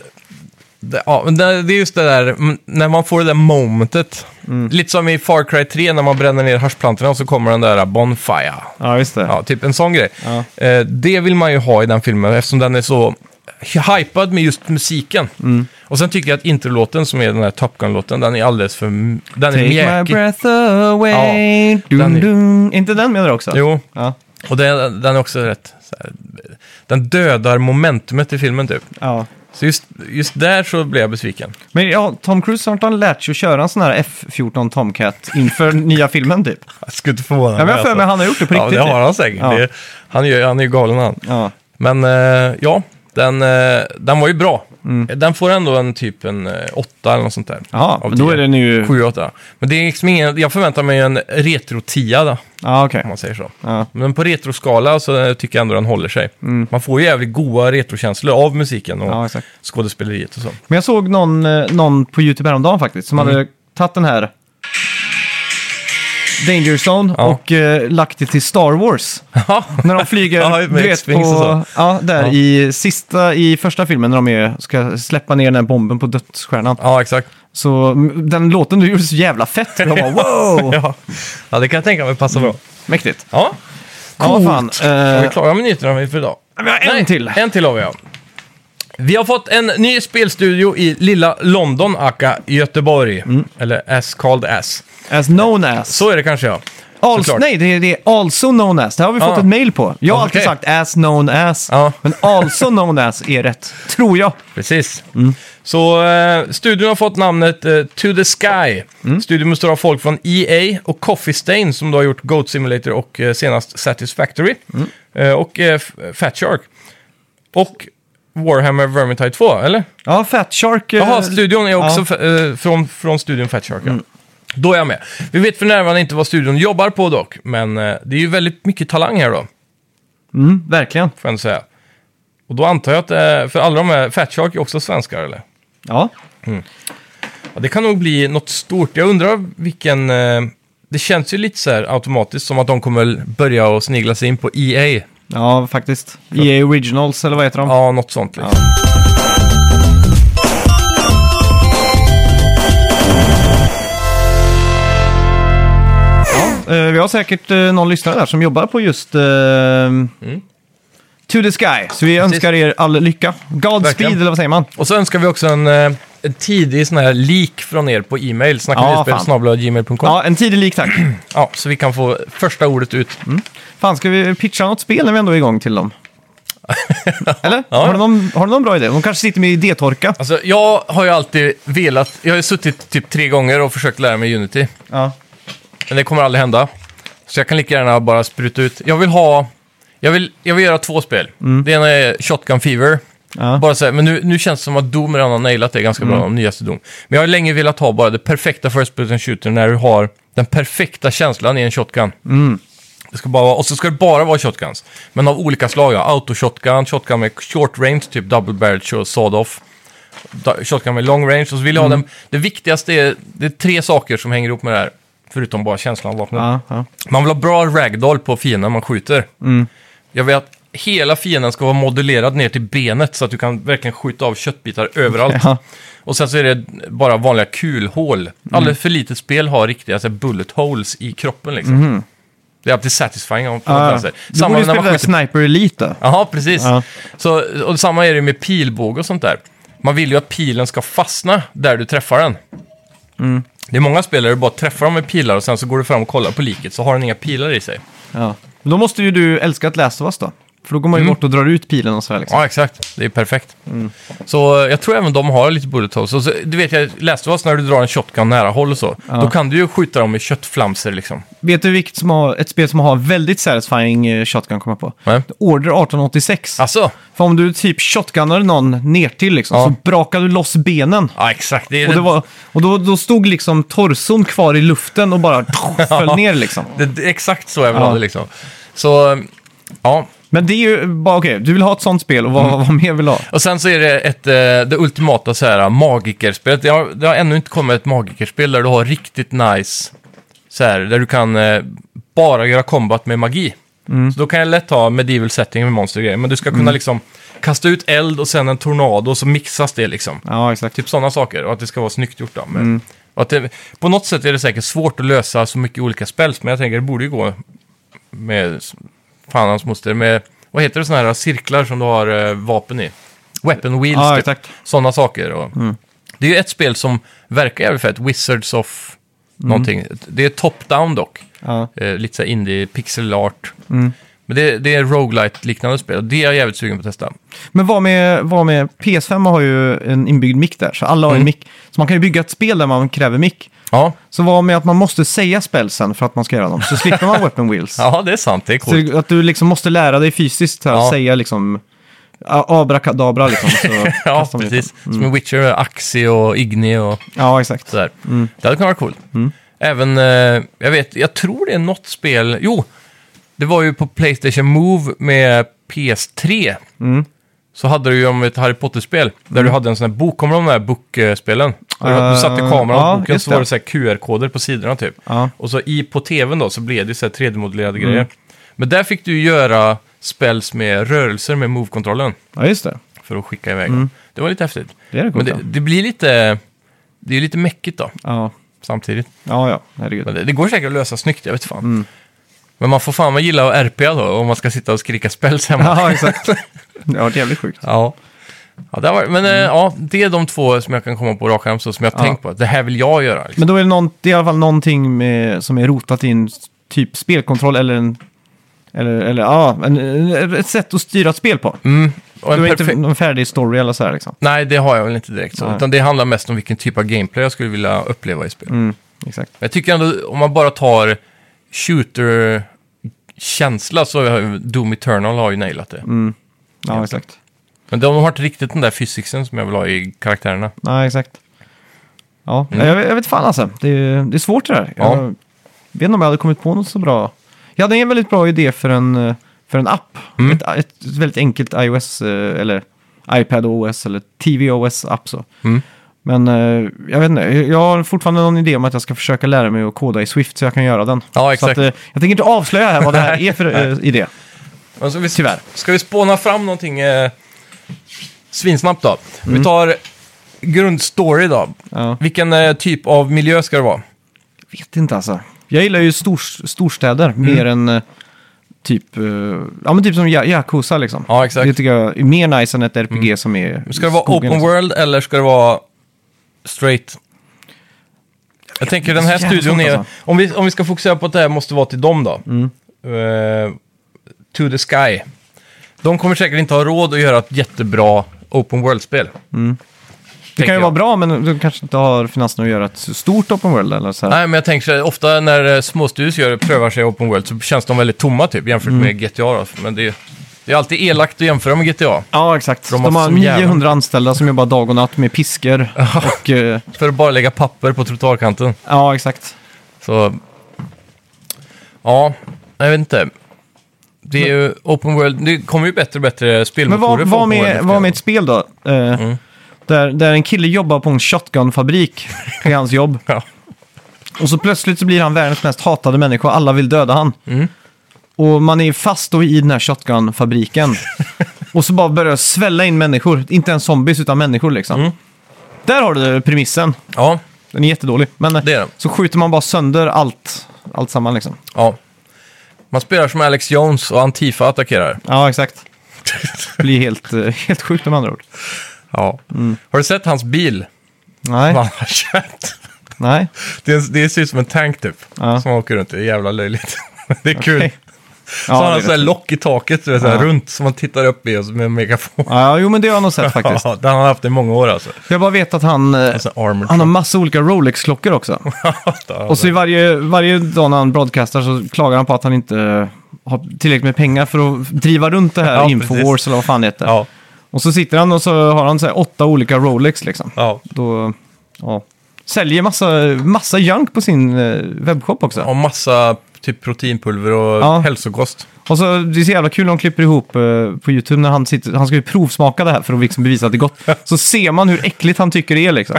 Speaker 2: Det, ja, men det, det är just det där, mm, när man får det där momentet. Lite som i Far Cry 3 när man bränner ner haschplantorna och så kommer den där äh, Bonfire.
Speaker 1: Eh, ja, just det.
Speaker 2: Ja, typ en sån grej.
Speaker 1: Ja.
Speaker 2: Eh, det vill man ju ha i den filmen eftersom den är så hypad med just musiken.
Speaker 1: Mm.
Speaker 2: Och sen tycker jag att introlåten som är den där Top Gun-låten, den är alldeles för... Den är
Speaker 1: Take my
Speaker 2: mjäkig.
Speaker 1: breath away.
Speaker 2: Ja,
Speaker 1: dun,
Speaker 2: den är-
Speaker 1: dun. Inte den menar du också?
Speaker 2: Jo,
Speaker 1: Ja,
Speaker 2: och den, den är också rätt... Så här, den dödar momentumet i filmen typ.
Speaker 1: ja.
Speaker 2: Så just, just där så blev jag besviken.
Speaker 1: Men ja, Tom Cruise har inte han lärt sig att köra en sån här F-14 Tomcat inför nya filmen typ?
Speaker 2: Jag skulle inte förvåna alltså.
Speaker 1: Ja, men jag har för mig att han har gjort det på riktigt. typ.
Speaker 2: Ja, det har han säkert.
Speaker 1: Ja.
Speaker 2: Det, han, gör, han är ju galen han.
Speaker 1: Ja.
Speaker 2: Men eh, ja, den, eh, den var ju bra. Den får ändå en typ en eh, åtta eller något sånt där.
Speaker 1: Jaha,
Speaker 2: Av
Speaker 1: Mm. men då
Speaker 2: tio.
Speaker 1: är den ju...
Speaker 2: Sju, åtta. Men det är liksom ingen, jag förväntar mig en retro-tia då,
Speaker 1: Ja, okej.
Speaker 2: om man säger så.
Speaker 1: Ja. Mm.
Speaker 2: Men på retroskala så tycker jag ändå den håller sig. Man får ju jävligt goa retrokänslor av musiken och
Speaker 1: Ja, exakt.
Speaker 2: skådespeleriet och så.
Speaker 1: Men jag såg någon, eh, någon på YouTube häromdagen faktiskt som
Speaker 2: Mm.
Speaker 1: hade tagit den här Danger Zone
Speaker 2: Ja.
Speaker 1: och eh, lagt det till Star Wars. När de flyger,
Speaker 2: Ja, med
Speaker 1: du vet,
Speaker 2: X-Wings och så.
Speaker 1: på, ja, där
Speaker 2: Ja.
Speaker 1: i sista, i första filmen när de är, ska släppa ner den här bomben på dödsstjärnan.
Speaker 2: ja, exakt.
Speaker 1: Så mm, den låten du gjorde så jävla fett. Jag bara, wow!
Speaker 2: Ja. ja, det kan jag tänka mig passar bra.
Speaker 1: Mäktigt.
Speaker 2: Ja,
Speaker 1: Ja,
Speaker 2: Coolt.
Speaker 1: fan.
Speaker 2: är vi
Speaker 1: Eh,
Speaker 2: klara med nyheterna för idag?
Speaker 1: men jag har en till.
Speaker 2: En till har vi, ja. Vi har fått en ny spelstudio i lilla London, aka Göteborg.
Speaker 1: Mm.
Speaker 2: Eller S called S.
Speaker 1: As known as.
Speaker 2: Så är det kanske, ja.
Speaker 1: Also,
Speaker 2: såklart.
Speaker 1: nej, det är, det är also known as. Det har vi fått
Speaker 2: Ah.
Speaker 1: ett mail på. Jag har alltid
Speaker 2: Okej.
Speaker 1: sagt as known as.
Speaker 2: Ja.
Speaker 1: Men also known as är rätt, tror jag.
Speaker 2: Precis.
Speaker 1: Mm.
Speaker 2: Så eh, studion har fått namnet eh, To The Sky.
Speaker 1: Mm.
Speaker 2: Studion består av folk från EA och Coffee Stain som då har gjort Goat Simulator och eh, senast Satisfactory.
Speaker 1: Mm.
Speaker 2: Eh, och eh, F- Fat Shark. Och Warhammer Vermintide 2, eller?
Speaker 1: Ja, Fat Shark. eh,
Speaker 2: Jaha, studion är också
Speaker 1: ja. Mm.
Speaker 2: f- eh, från, från studion Fat Shark, ja. Då är jag med. Vi vet för närvarande inte vad studion jobbar på dock, men eh, det är ju väldigt mycket talang här då, får
Speaker 1: Mm, verkligen.
Speaker 2: jag ändå säga. Och då antar jag att, eh, för alla de här, Fat Shark är också svenskar eller?
Speaker 1: Ja.
Speaker 2: Ja, det kan nog bli något stort. Jag undrar vilken... Eh, det känns ju lite så här automatiskt som att de kommer börja och snigla sig in på EA.
Speaker 1: ja, faktiskt. EA Originals, eller vad heter de?
Speaker 2: Ja, något sånt. Liksom.
Speaker 1: Eh, vi har säkert eh, någon lyssnare där som jobbar på just eh,
Speaker 2: Mm.
Speaker 1: To the Sky. Så vi önskar er all lycka. Godspeed,
Speaker 2: Verkligen.
Speaker 1: eller vad säger man?
Speaker 2: Och så önskar vi också en, eh, en tidig sån här leak från er på e-mail.
Speaker 1: Ja,
Speaker 2: Snacka
Speaker 1: fan.
Speaker 2: ja, gmail.com. Ja.
Speaker 1: Ja, en tidig lik tack.
Speaker 2: så vi kan få första ordet ut.
Speaker 1: Fan, ska vi pitcha något spel när vi ändå är igång till dem? Eller? Har, du någon, har du någon bra idé? De kanske sitter med idétorka.
Speaker 2: Alltså, jag har ju alltid velat... Jag har ju suttit typ tre gånger och försökt lära mig Unity.
Speaker 1: Ja.
Speaker 2: Men det kommer aldrig hända. Så jag kan lika gärna bara spruta ut. Jag vill ha... Jag vill, jag vill göra två spel. Det ena är Shotgun Fever.
Speaker 1: Ja.
Speaker 2: Bara så här, men nu, nu känns det som att Doom redan har nailat det ganska bra, de nyaste Doom. Men jag har länge velat ha bara det perfekta First Person Shooter när du har den perfekta känslan i en shotgun. Det ska bara vara, och så ska det bara vara shotguns. Men av olika slag, ja. Auto-shotgun, shotgun med short range, typ double barrel sh- sawed-off. da- Shotgun med long range. Och så vill jag ha den, det viktigaste är, det är tre saker som hänger ihop med det här. Förutom bara känslan av vapnet.
Speaker 1: Ja, ja.
Speaker 2: Man vill ha bra ragdoll på fienden man skjuter.
Speaker 1: Mm.
Speaker 2: Jag vill att hela fienden ska vara modellerad ner till benet så att du kan verkligen skjuta av köttbitar överallt.
Speaker 1: Ja. Mm.
Speaker 2: Och sen så är det bara vanliga kulhål. Alldeles för litet spel har riktiga så här, bullet holes i kroppen liksom. Det är alltid satisfying om på något
Speaker 1: Mhm. Ja. alltså,
Speaker 2: annat sätt.
Speaker 1: Du borde ju spela där Sniper Elite då.
Speaker 2: Ja, precis.
Speaker 1: Ja.
Speaker 2: Så, och samma är det med pilbåge och sånt där. Man vill ju att pilen ska fastna där du träffar den.
Speaker 1: Mm.
Speaker 2: Det är många spelare du bara träffar dem med pilar och sen så går du fram och kollar på liket så har den inga pilar i sig.
Speaker 1: Ja. Mm. Men Då måste ju du älska att läsa oss då. För då går man ju bort och drar ut pilen och så här liksom.
Speaker 2: Ja, exakt. Det är perfekt.
Speaker 1: Mm.
Speaker 2: Så eh, jag tror även de har lite bullet holes. Och så, du vet, jag läste oss när du drar en shotgun nära håll och så. Då kan du ju skjuta dem med köttflamser liksom.
Speaker 1: Vet du vilket som har, ett spel som har väldigt satisfying eh, shotgun kommer jag på?
Speaker 2: Nej.
Speaker 1: Order 1886.
Speaker 2: Alltså,
Speaker 1: För om du typ shotgunnar någon ner till liksom,
Speaker 2: Ja.
Speaker 1: så brakar du loss benen.
Speaker 2: ja exakt. Det är
Speaker 1: Och, det var, och då, då stod liksom torson kvar i luften och bara föll ner liksom.
Speaker 2: det, det, exakt så jag vill
Speaker 1: Ja.
Speaker 2: ha det liksom. Så, eh, ja.
Speaker 1: Men det är ju bara, okej, du vill ha ett sånt spel och vad, vad mer vill du ha?
Speaker 2: Och sen så är det ett, eh, det ultimata så här, magikerspelet. Det har, det har ännu inte kommit ett magikerspel där du har riktigt nice, så här, där du kan eh, bara göra combat med magi. Så då kan jag lätt ha medieval setting med monster och grejer, men du ska kunna liksom kasta ut eld och sen en tornado och så mixas det liksom.
Speaker 1: Ja, exakt.
Speaker 2: Typ sådana saker, och att det ska vara snyggt gjort. Då. Men,
Speaker 1: Mm.
Speaker 2: och att det, på något sätt är det säkert svårt att lösa så mycket olika spells, men jag tänker det borde ju gå med, fan hans moster, med, vad heter det, sådana här cirklar som du har eh, vapen i? Weapon wheels,
Speaker 1: Ja,
Speaker 2: typ.
Speaker 1: exakt. Mm.
Speaker 2: sådana saker. Och, Det är ju ett spel som verkar jävligt fett, Wizards of någonting. Det är top-down dock,
Speaker 1: Mm. Ja. Mm.
Speaker 2: eh, lite så här indie, pixel art. Men det, det är roguelite liknande spel, och det är jag jävligt sugen på att testa.
Speaker 1: Men vad med, vad med, PS5 har ju en inbyggd mick där, så
Speaker 2: Mm.
Speaker 1: alla har en mick. Så man kan ju bygga ett spel där man kräver mick.
Speaker 2: Ja,
Speaker 1: Så vad med att man måste säga spelsen för att man ska göra dem, så slipper man weapon wheels.
Speaker 2: ja det är sant, det är
Speaker 1: Så
Speaker 2: coolt.
Speaker 1: att du liksom måste lära dig fysiskt här,
Speaker 2: Ja.
Speaker 1: säga liksom a- abrakadabra liksom. Så
Speaker 2: Ja,
Speaker 1: kastar Mm. man ut
Speaker 2: precis.
Speaker 1: den.
Speaker 2: Som i Witcher, Axie och Igni och
Speaker 1: Ja, exakt.
Speaker 2: sådär.
Speaker 1: Mm.
Speaker 2: Det hade kunnat vara coolt. Även, eh, jag vet, jag tror det är något spel, jo, det var ju på Playstation Move med PS3.
Speaker 1: Mm.
Speaker 2: Så hade du ju om ett Harry Potter-spel, där du hade en sån här bok, kommer du ihåg de här bokspelen? Uh, du satte
Speaker 1: Eh,
Speaker 2: kameran
Speaker 1: ja,
Speaker 2: på boken
Speaker 1: just
Speaker 2: så var
Speaker 1: det.
Speaker 2: det så här QR-koder på sidorna typ.
Speaker 1: Ja. Mm.
Speaker 2: Och så i, på tvn då så blev det så här 3D-modellerade grejer. Men där fick du göra spells med rörelser med Move-kontrollen
Speaker 1: Ja, just det.
Speaker 2: för att skicka iväg. dem. Det var lite häftigt.
Speaker 1: Mm. Det är det
Speaker 2: Men
Speaker 1: coolt.
Speaker 2: det,
Speaker 1: ja.
Speaker 2: det blir lite... Det är ju lite mäckigt då,
Speaker 1: Ja,
Speaker 2: samtidigt.
Speaker 1: ja, ja. herregud.
Speaker 2: Men det, det går säkert att lösa snyggt, jag vet fan.
Speaker 1: Mm.
Speaker 2: Men man får fan man gilla att RPa då, om man ska sitta och skrika spells hemma.
Speaker 1: Ja, exakt. Ja, det är jävligt sjukt.
Speaker 2: Ja. Ja, det var, men
Speaker 1: Mm.
Speaker 2: eh, ja, det är de två som jag kan komma på rak arm så som jag har tänkt på. Det här vill jag göra. Liksom.
Speaker 1: Men då är det, någon, det är i alla fall någonting med, som är rotat i en s- typ spelkontroll eller en... Eller, eller ja, en, ett sätt att styra ett spel på.
Speaker 2: Mm. Och en
Speaker 1: Du har inte
Speaker 2: perfekt-
Speaker 1: någon färdig story eller så här liksom.
Speaker 2: Nej, det har jag väl inte direkt. Så,
Speaker 1: Nej.
Speaker 2: utan det handlar mest om vilken typ av gameplay jag skulle vilja uppleva i spel.
Speaker 1: Mm, exakt.
Speaker 2: Men jag tycker ändå, om man bara tar shooter-känsla så har ju Doom Eternal har ju nailat det.
Speaker 1: Ja, exakt.
Speaker 2: Men de har inte riktigt den där fysiken som jag vill ha i karaktärerna.
Speaker 1: Nej, exakt. Ja, jag, jag vet fan alltså. Det är, det är svårt det där.
Speaker 2: Mm. Ja.
Speaker 1: Jag vet inte om jag hade kommit på något så bra. Jag hade en väldigt bra idé för en, eh, för en app.
Speaker 2: Mm.
Speaker 1: Ett, ett väldigt enkelt iOS eh, eller iPad OS eller TVOS-app så.
Speaker 2: Mm.
Speaker 1: Men eh, jag vet inte, jag har fortfarande någon idé om att jag ska försöka lära mig att koda i Swift så jag kan göra den.
Speaker 2: Ja, exakt.
Speaker 1: Så att, eh, jag tänker inte avslöja här vad det här är för eh, idé.
Speaker 2: Alltså, vi,
Speaker 1: Tyvärr.
Speaker 2: Ska vi spåna fram någonting eh, svinsnabbt då? Vi tar grundstory då.
Speaker 1: Mm. Ja.
Speaker 2: Vilken eh, typ av miljö ska det vara?
Speaker 1: vet inte alltså. Jag gillar ju stor, storstäder mer än eh, typ, eh, ja, men typ som Ja- Yakuza liksom.
Speaker 2: Ja, exakt.
Speaker 1: Det tycker jag är mer nice än ett RPG som är i
Speaker 2: Ska det vara
Speaker 1: skogen,
Speaker 2: open
Speaker 1: liksom.
Speaker 2: world eller ska det vara straight? Jag tänker den här
Speaker 1: Det är så jävla
Speaker 2: studion
Speaker 1: svårt,
Speaker 2: är...
Speaker 1: alltså. Mm.
Speaker 2: Om vi, om vi ska fokusera på att det här måste vara till dem då. Eh, to the sky. De kommer säkert inte ha råd att göra ett jättebra open world-spel.
Speaker 1: Mm. Det kan ju
Speaker 2: tänker jag.
Speaker 1: vara bra men de kanske inte har finanserna att göra ett stort open world eller så här.
Speaker 2: Nej, men jag tänker så här, ofta när eh, småstudios gör, prövar sig i open world så känns de väldigt tomma typ jämfört
Speaker 1: Mm.
Speaker 2: med GTA. Då. Men det, är- det är alltid elakt att jämföra med GTA.
Speaker 1: Ja, exakt.
Speaker 2: De
Speaker 1: De,
Speaker 2: har
Speaker 1: har
Speaker 2: som
Speaker 1: 900
Speaker 2: jävla-
Speaker 1: anställda som jobbar dag och natt med piskor. och, eh,
Speaker 2: För att bara lägga papper på trottoarkanten.
Speaker 1: ja, exakt.
Speaker 2: Så... Ja, jag vet inte. Det är ju open world, det kommer ju bättre och bättre
Speaker 1: Men
Speaker 2: spelmotorer
Speaker 1: vad,
Speaker 2: för
Speaker 1: vad,
Speaker 2: open world
Speaker 1: med,
Speaker 2: efter
Speaker 1: vad
Speaker 2: det.
Speaker 1: med ett spel då? Eh,
Speaker 2: Mm.
Speaker 1: där, där en kille jobbar på en shotgunfabrik. Det är hans jobb.
Speaker 2: Ja.
Speaker 1: Och så plötsligt så blir han världens mest hatade människa och alla vill döda han.
Speaker 2: Mm.
Speaker 1: Och man är fast då i den här shotgun-fabriken. och så bara börjar det svälla in människor. Inte ens zombies, utan människor liksom.
Speaker 2: Mm.
Speaker 1: Där har du premissen.
Speaker 2: Ja,
Speaker 1: Den är jättedålig. Men
Speaker 2: Det är den.
Speaker 1: så skjuter man bara sönder allt, allt samman liksom.
Speaker 2: ja. Man spelar som Alex Jones och Antifa attackerar.
Speaker 1: Ja, exakt. Det blir helt, eh, helt sjukt med andra ord.
Speaker 2: Ja. Har du sett hans bil?
Speaker 1: Nej,
Speaker 2: Vad han har köpt?
Speaker 1: nej.
Speaker 2: Det, är, det ser ut som en tank typ,
Speaker 1: Ja.
Speaker 2: som han åker runt i. Det är jävla löjligt. Det är kul.
Speaker 1: Okej.
Speaker 2: Så har
Speaker 1: det
Speaker 2: han
Speaker 1: är
Speaker 2: sådär
Speaker 1: rätt.
Speaker 2: lock i taket, du vet, såhär,
Speaker 1: Ja.
Speaker 2: runt, som man tittar upp i och så med en megafon.
Speaker 1: Ja, jo men det har jag nog sett
Speaker 2: Ja,
Speaker 1: faktiskt.
Speaker 2: det har han haft i många år alltså.
Speaker 1: Jag bara vet att han, eh,
Speaker 2: Alltså armored.
Speaker 1: han har massa olika Rolex-klockor också. Och så i varje, varje dag när han broadcastar så klagar han på att han inte eh, har tillräckligt med pengar för att driva runt det här
Speaker 2: Ja,
Speaker 1: Infowars
Speaker 2: precis.
Speaker 1: eller vad fan det heter.
Speaker 2: ja,
Speaker 1: Och så sitter han och så har han så här åtta olika Rolex liksom.
Speaker 2: ja.
Speaker 1: Då, ja. Säljer massa, massa junk på sin eh, webbshop också.
Speaker 2: Och massa Typ proteinpulver och
Speaker 1: Ja.
Speaker 2: hälsokost.
Speaker 1: Och så, det är så jävla kul när de klipper ihop eh, på YouTube när han sitter, han ska ju provsmaka det här för att liksom bevisa att det är gott. Så ser man hur äckligt han tycker det är liksom.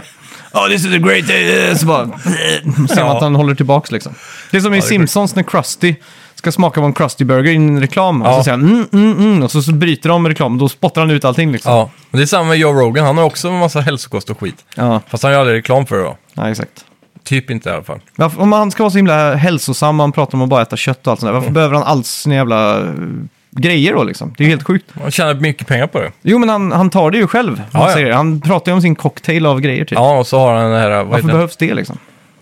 Speaker 1: Oh, this is a great day! Så bara, eh, ser man
Speaker 2: Ja.
Speaker 1: att han håller tillbaks liksom. Det är som i
Speaker 2: är
Speaker 1: Simpsons när Krusty ska smaka på en Krusty Burger i en reklam. Och
Speaker 2: Ja.
Speaker 1: så säger han mm, mm, mm. Och så, så bryter de reklamen, då spottar han ut allting liksom.
Speaker 2: Ja. Men det är samma med Joe Rogan, han har också en massa hälsokost och skit.
Speaker 1: Ja,
Speaker 2: Fast han gör aldrig reklam för det då.
Speaker 1: ja exakt.
Speaker 2: Typ inte i alla fall.
Speaker 1: Varför, om han ska vara så himla hälsosam, han pratar om att bara äta kött och allt sånt där. Varför behöver han alls sina jävla eh, grejer då liksom? Det är ju helt sjukt.
Speaker 2: Han tjänar mycket pengar på det.
Speaker 1: Jo, men han, han tar det ju själv. Han,
Speaker 2: Ja, ja.
Speaker 1: säger, det. han pratar ju om sin cocktail av grejer typ.
Speaker 2: Ja, och så har han det här... Vad
Speaker 1: Varför
Speaker 2: heter det?
Speaker 1: behövs det liksom?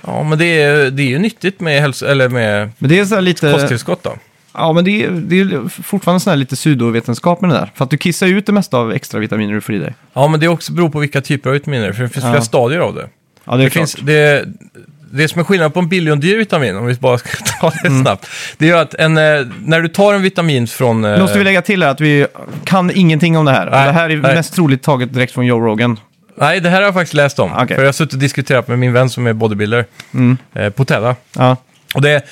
Speaker 2: Ja, men det är, det är ju nyttigt med, hälso, eller med
Speaker 1: Men det är så här lite...
Speaker 2: kosttillskott då.
Speaker 1: Ja, men det är, det är fortfarande sån här lite pseudovetenskap med det där. För att du kissar ju ut det mesta av extra vitaminer du får i dig.
Speaker 2: Ja, men det också beror på vilka typer av vitaminer, för det finns
Speaker 1: Ja.
Speaker 2: flera stadier av det.
Speaker 1: Ja, det är
Speaker 2: Det, finns, det, det som är skillnaden på en biljondyr vitamin, om vi bara ska ta det
Speaker 1: Mm.
Speaker 2: snabbt, det är ju att en, eh, när du tar en vitamin från... eh,
Speaker 1: Nu måste vi lägga till här att vi kan ingenting om det här.
Speaker 2: Nej,
Speaker 1: det här är
Speaker 2: nej.
Speaker 1: mest troligt taget direkt från Joe Rogan.
Speaker 2: Nej, det här har jag faktiskt läst om.
Speaker 1: Okej. Mm.
Speaker 2: För jag har suttit och diskuterat med min vän som är bodybuilder, eh, på Tedda.
Speaker 1: Ja.
Speaker 2: Och det, eh,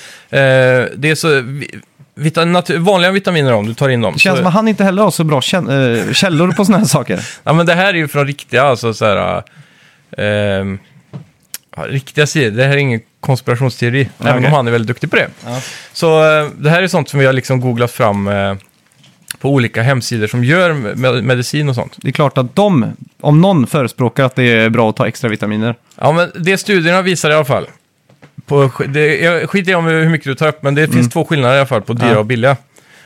Speaker 2: det är så... vi- Vita, natu- vanliga vitaminer om du tar in dem.
Speaker 1: Det känns
Speaker 2: så,
Speaker 1: som att han inte heller har så bra kän- eh, källor på såna här saker.
Speaker 2: Ja, men det här är ju från riktiga, alltså så här... eh, ehm, ja, riktiga sidor. Det här är ingen konspirationsteori, även
Speaker 1: okej.
Speaker 2: om han är väldigt duktig på det. Så eh, det här är sånt som vi har liksom googlat fram eh, på olika hemsidor som gör med, medicin och sånt.
Speaker 1: Det är klart att de, om någon, förespråkar att det är bra att ta extra vitaminer.
Speaker 2: Ja, men det studierna visar i alla fall. På, sk- det, jag skiter i om hur mycket du tar upp, men det finns två skillnader i alla fall på dyra
Speaker 1: Ja.
Speaker 2: och billiga.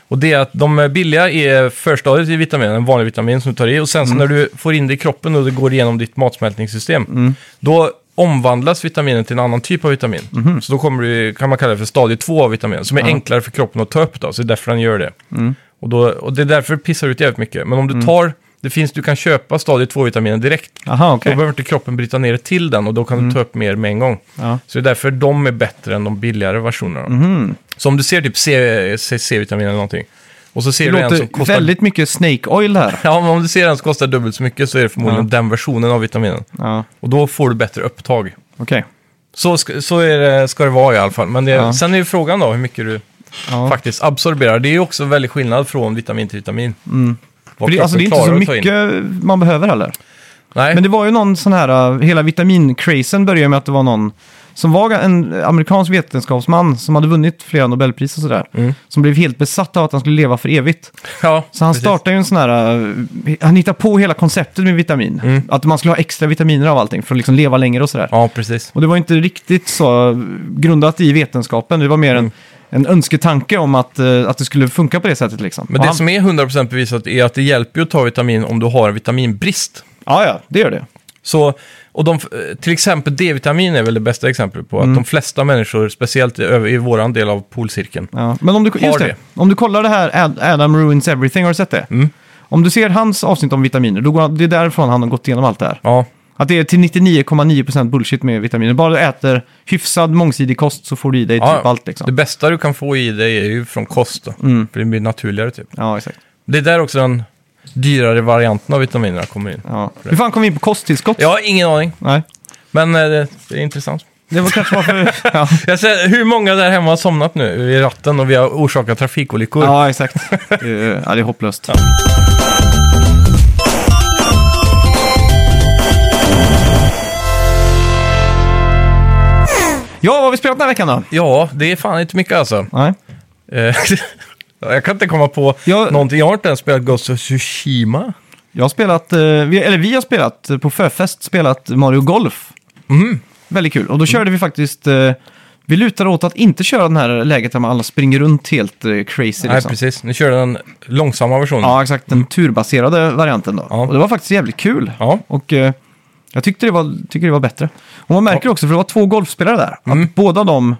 Speaker 2: Och det är att de billiga är förstadiet i vitaminen, en vanlig vitamin som du tar i. Och sen så när du får in det i kroppen och det går igenom ditt matsmältningssystem, då omvandlas vitaminen till en annan typ av vitamin. Så då kommer du, kan man kalla det för stadie 2 av vitaminen, som är enklare för kroppen att ta upp. Då, så det är därför den gör det. Och, då, och det är därför det pissar ut jävligt mycket. Men om du tar, det finns, du kan köpa stadie 2-vitaminen direkt.
Speaker 1: Aha,
Speaker 2: Då
Speaker 1: okej. Mm.
Speaker 2: behöver inte kroppen bryta ner det till den och då kan du ta upp mer med en gång.
Speaker 1: Ja.
Speaker 2: Så det är därför de är bättre än de billigare versionerna.
Speaker 1: Mhm.
Speaker 2: Så om du ser typ C- C- C-vitamin eller någonting och så ser
Speaker 1: Det
Speaker 2: du en som
Speaker 1: låter
Speaker 2: kostar...
Speaker 1: väldigt mycket snake oil här.
Speaker 2: Ja, men om du ser en som kostar dubbelt så mycket så är det förmodligen
Speaker 1: Ja.
Speaker 2: den versionen av vitaminen.
Speaker 1: Ja,
Speaker 2: Och då får du bättre upptag.
Speaker 1: okej.
Speaker 2: Så, ska, så är det, ska det vara i alla fall. Men det,
Speaker 1: Ja.
Speaker 2: sen är ju frågan då hur mycket du
Speaker 1: Ja.
Speaker 2: faktiskt absorberar. Det är ju också väldigt skillnad från vitamin till vitamin. Vad
Speaker 1: För det, alltså, det är
Speaker 2: kroppen
Speaker 1: inte så
Speaker 2: klarar att ta in.
Speaker 1: mycket man behöver heller.
Speaker 2: Nej.
Speaker 1: Men det var ju någon sån här, uh, hela vitamincrazen började med att det var någon som var en amerikansk vetenskapsman som hade vunnit flera nobelpris och sådär.
Speaker 2: Mm.
Speaker 1: Som blev helt besatt av att han skulle leva för evigt.
Speaker 2: ja,
Speaker 1: Så han
Speaker 2: precis.
Speaker 1: startade ju en sån här, uh, han hittade på hela konceptet med vitamin.
Speaker 2: Mm.
Speaker 1: Att man skulle ha extra vitaminer av allting för att liksom leva längre och sådär.
Speaker 2: Ja, precis.
Speaker 1: Och det var inte riktigt så eh, grundat i vetenskapen, det var mer
Speaker 2: Mm.
Speaker 1: en, en önsketanke om att, eh, att det skulle funka på det sättet liksom.
Speaker 2: Men
Speaker 1: Och
Speaker 2: det
Speaker 1: han-
Speaker 2: som är 100% bevisat är att det hjälper ju att ta vitamin om du har en vitaminbrist.
Speaker 1: Ja, ja, det gör det.
Speaker 2: Så, och de, eh, till exempel D-vitamin är väl det bästa exemplet på att de flesta människor, speciellt i, över- i våran del av polcirkeln,
Speaker 1: Ja. Men om du, just det.
Speaker 2: det.
Speaker 1: om du kollar det här Ad, Adam Ruins Everything, har du sett det?
Speaker 2: Mm.
Speaker 1: Om du ser hans avsnitt om vitaminer, då går han, det är därifrån han har gått igenom allt det här.
Speaker 2: ja,
Speaker 1: Att det är till 99,9% bullshit med vitaminer. Bara du äter hyfsad mångsidig kost så får du i dig
Speaker 2: ja
Speaker 1: typ allt liksom.
Speaker 2: det bästa du kan få i dig är ju från kost. Då, För det blir naturligare typ.
Speaker 1: Ja, exakt.
Speaker 2: Det är där också den dyrare varianten av vitaminerna kommer in.
Speaker 1: Ja. Hur fan kom vi in på kosttillskott?
Speaker 2: Jag har ingen aning,
Speaker 1: Nej.
Speaker 2: men eh, det, det är intressant.
Speaker 1: Det var kanske varför... ja.
Speaker 2: Jag ser, hur många där hemma har somnat nu i ratten och vi har orsakat trafikolyckor?
Speaker 1: ja, exakt. Det är- ja, det är hopplöst. Ja, vad har vi spelat den här veckan då?
Speaker 2: Ja, det är fan inte mycket alltså.
Speaker 1: Nej.
Speaker 2: Eh, jag kan inte komma på
Speaker 1: Jag-
Speaker 2: någonting. Jag har inte ens spelat Ghost of Tsushima.
Speaker 1: Jag har spelat, eh, vi, eller vi har spelat eh, på Förfest, spelat Mario Golf.
Speaker 2: Mm.
Speaker 1: Väldigt kul. Och då körde vi faktiskt, eh, vi lutade åt att inte köra den här läget där man alla springer runt helt eh, crazy.
Speaker 2: Nej,
Speaker 1: Liksom.
Speaker 2: precis. Nu kör den långsamma versionen.
Speaker 1: ja, exakt. Den turbaserade varianten då.
Speaker 2: Ja.
Speaker 1: Och det var faktiskt jävligt kul.
Speaker 2: Ja.
Speaker 1: Och eh, jag tyckte det, var, tycker det var bättre. Och man märker också, för det var två golfspelare där,
Speaker 2: Mm.
Speaker 1: att båda de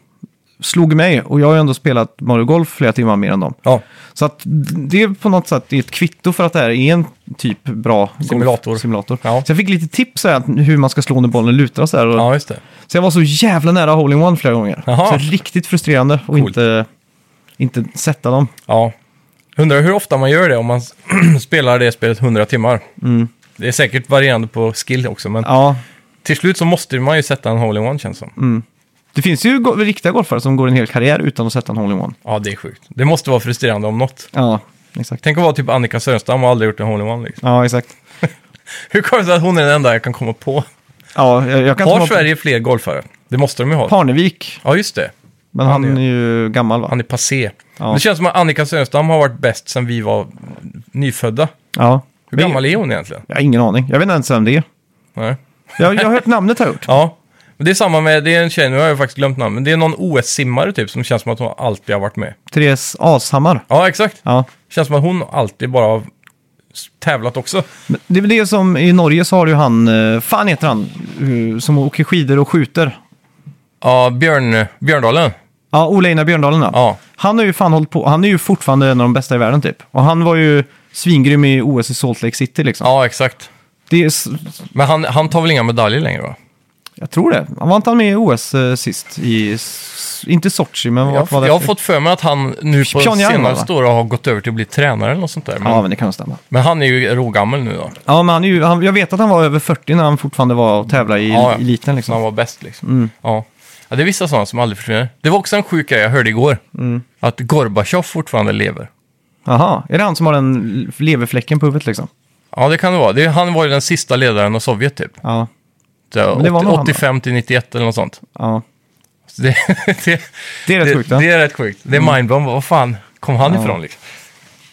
Speaker 1: slog mig. Och jag har ju ändå spelat Mario Golf flera timmar mer än dem.
Speaker 2: Ja.
Speaker 1: Så att det är på något sätt ett kvitto för att det här är en typ bra
Speaker 2: Simulator.
Speaker 1: simulator.
Speaker 2: Ja.
Speaker 1: Så jag fick lite tips här, att hur man ska slå när bollen lutar och så här. Och-
Speaker 2: ja, just det.
Speaker 1: Så jag var så jävla nära hole-in-one flera gånger.
Speaker 2: Jaha.
Speaker 1: Så riktigt frustrerande och inte, inte sätta dem.
Speaker 2: Ja. Undrar hur ofta man gör det om man spelar det spelet 100 timmar. Det är säkert varierande på skill också, men
Speaker 1: Mm. Ja, Mm.
Speaker 2: till slut så måste man ju sätta en hole-in-one känns det som.
Speaker 1: Det finns ju go- riktiga golfare som går en hel karriär utan att sätta en hole-in-one.
Speaker 2: Ja, det är sjukt. Det måste vara frustrerande om något.
Speaker 1: Ja, exakt.
Speaker 2: Tänk att vara typ Annika Sörenstam och aldrig gjort en hole-in-one. Liksom.
Speaker 1: Ja, exakt.
Speaker 2: Hur kommer det sig att hon är den enda jag kan komma på?
Speaker 1: Ja, jag, jag kan
Speaker 2: Har
Speaker 1: inte komma på-
Speaker 2: Sverige fler golfare? Det måste de ju ha.
Speaker 1: Parnevik,
Speaker 2: Ja, just det.
Speaker 1: men
Speaker 2: Han
Speaker 1: han,
Speaker 2: är-
Speaker 1: är ju gammal va?
Speaker 2: Han är passé.
Speaker 1: Ja.
Speaker 2: Det känns som att Annika Sörenstam har varit bäst sedan vi var nyfödda.
Speaker 1: Ja.
Speaker 2: Hur gammal är hon egentligen?
Speaker 1: Jag har ingen aning. Jag vet inte ens vem det är.
Speaker 2: Nej.
Speaker 1: Jag, jag har hört namnet har jag gjort.
Speaker 2: Ja, men det är samma med, det är en tjej, nu har jag faktiskt glömt namnet, men det är någon OS-simmare typ som känns som att hon alltid har varit med.
Speaker 1: Therese Ashammar.
Speaker 2: Ja, exakt.
Speaker 1: Ja.
Speaker 2: Känns som att hon alltid bara har s- tävlat också.
Speaker 1: Men det är väl det som, i Norge så har du ju han, eh, fan heter han, eh, som åker skidor och skjuter.
Speaker 2: Ja, Björn, Björndalen.
Speaker 1: Ja, Ole Einar Björndalen ja.
Speaker 2: Ja.
Speaker 1: Han har ju fan hållit på, han är ju fortfarande en av de bästa i världen typ. Och han var ju svingrym i OS i Salt Lake City liksom.
Speaker 2: Ja, exakt.
Speaker 1: Det är, s-
Speaker 2: Men han, han tar väl inga medaljer längre va?
Speaker 1: jag tror det. Han var inte han med i OS eh, sist? I, s- inte Sochi, men
Speaker 2: Jag,
Speaker 1: vart var det?
Speaker 2: jag har
Speaker 1: efter?
Speaker 2: fått för mig att han nu på
Speaker 1: Pyongyang,
Speaker 2: senare
Speaker 1: va?
Speaker 2: stora har gått över till att bli tränare eller något sånt där. Men,
Speaker 1: Ja, men det kan nog stämma.
Speaker 2: men han är ju rågammal nu då.
Speaker 1: Ja, men han är ju, han, jag vet att han var över 40 när han fortfarande var och tävlade i
Speaker 2: Ja, ja.
Speaker 1: eliten
Speaker 2: Så han
Speaker 1: liksom.
Speaker 2: var bäst liksom. Ja. ja, det är vissa sådana som aldrig försvinner. Det var också en sjuk grej jag hörde igår.
Speaker 1: Mm.
Speaker 2: Att Gorbachev fortfarande lever.
Speaker 1: Jaha, är det han som har den leverfläcken på huvudet liksom?
Speaker 2: Ja, det kan det vara. Det, han var ju den sista ledaren av Sovjet typ.
Speaker 1: Ja,
Speaker 2: Så,
Speaker 1: Men det var
Speaker 2: 80,
Speaker 1: nog han,
Speaker 2: 85 till 91 eller något sånt.
Speaker 1: ja.
Speaker 2: Så det, det,
Speaker 1: Det är rätt sjukt. va? Mm.
Speaker 2: det är rätt sjukt. Det är mindblown. Vad fan kom han ifrån liksom?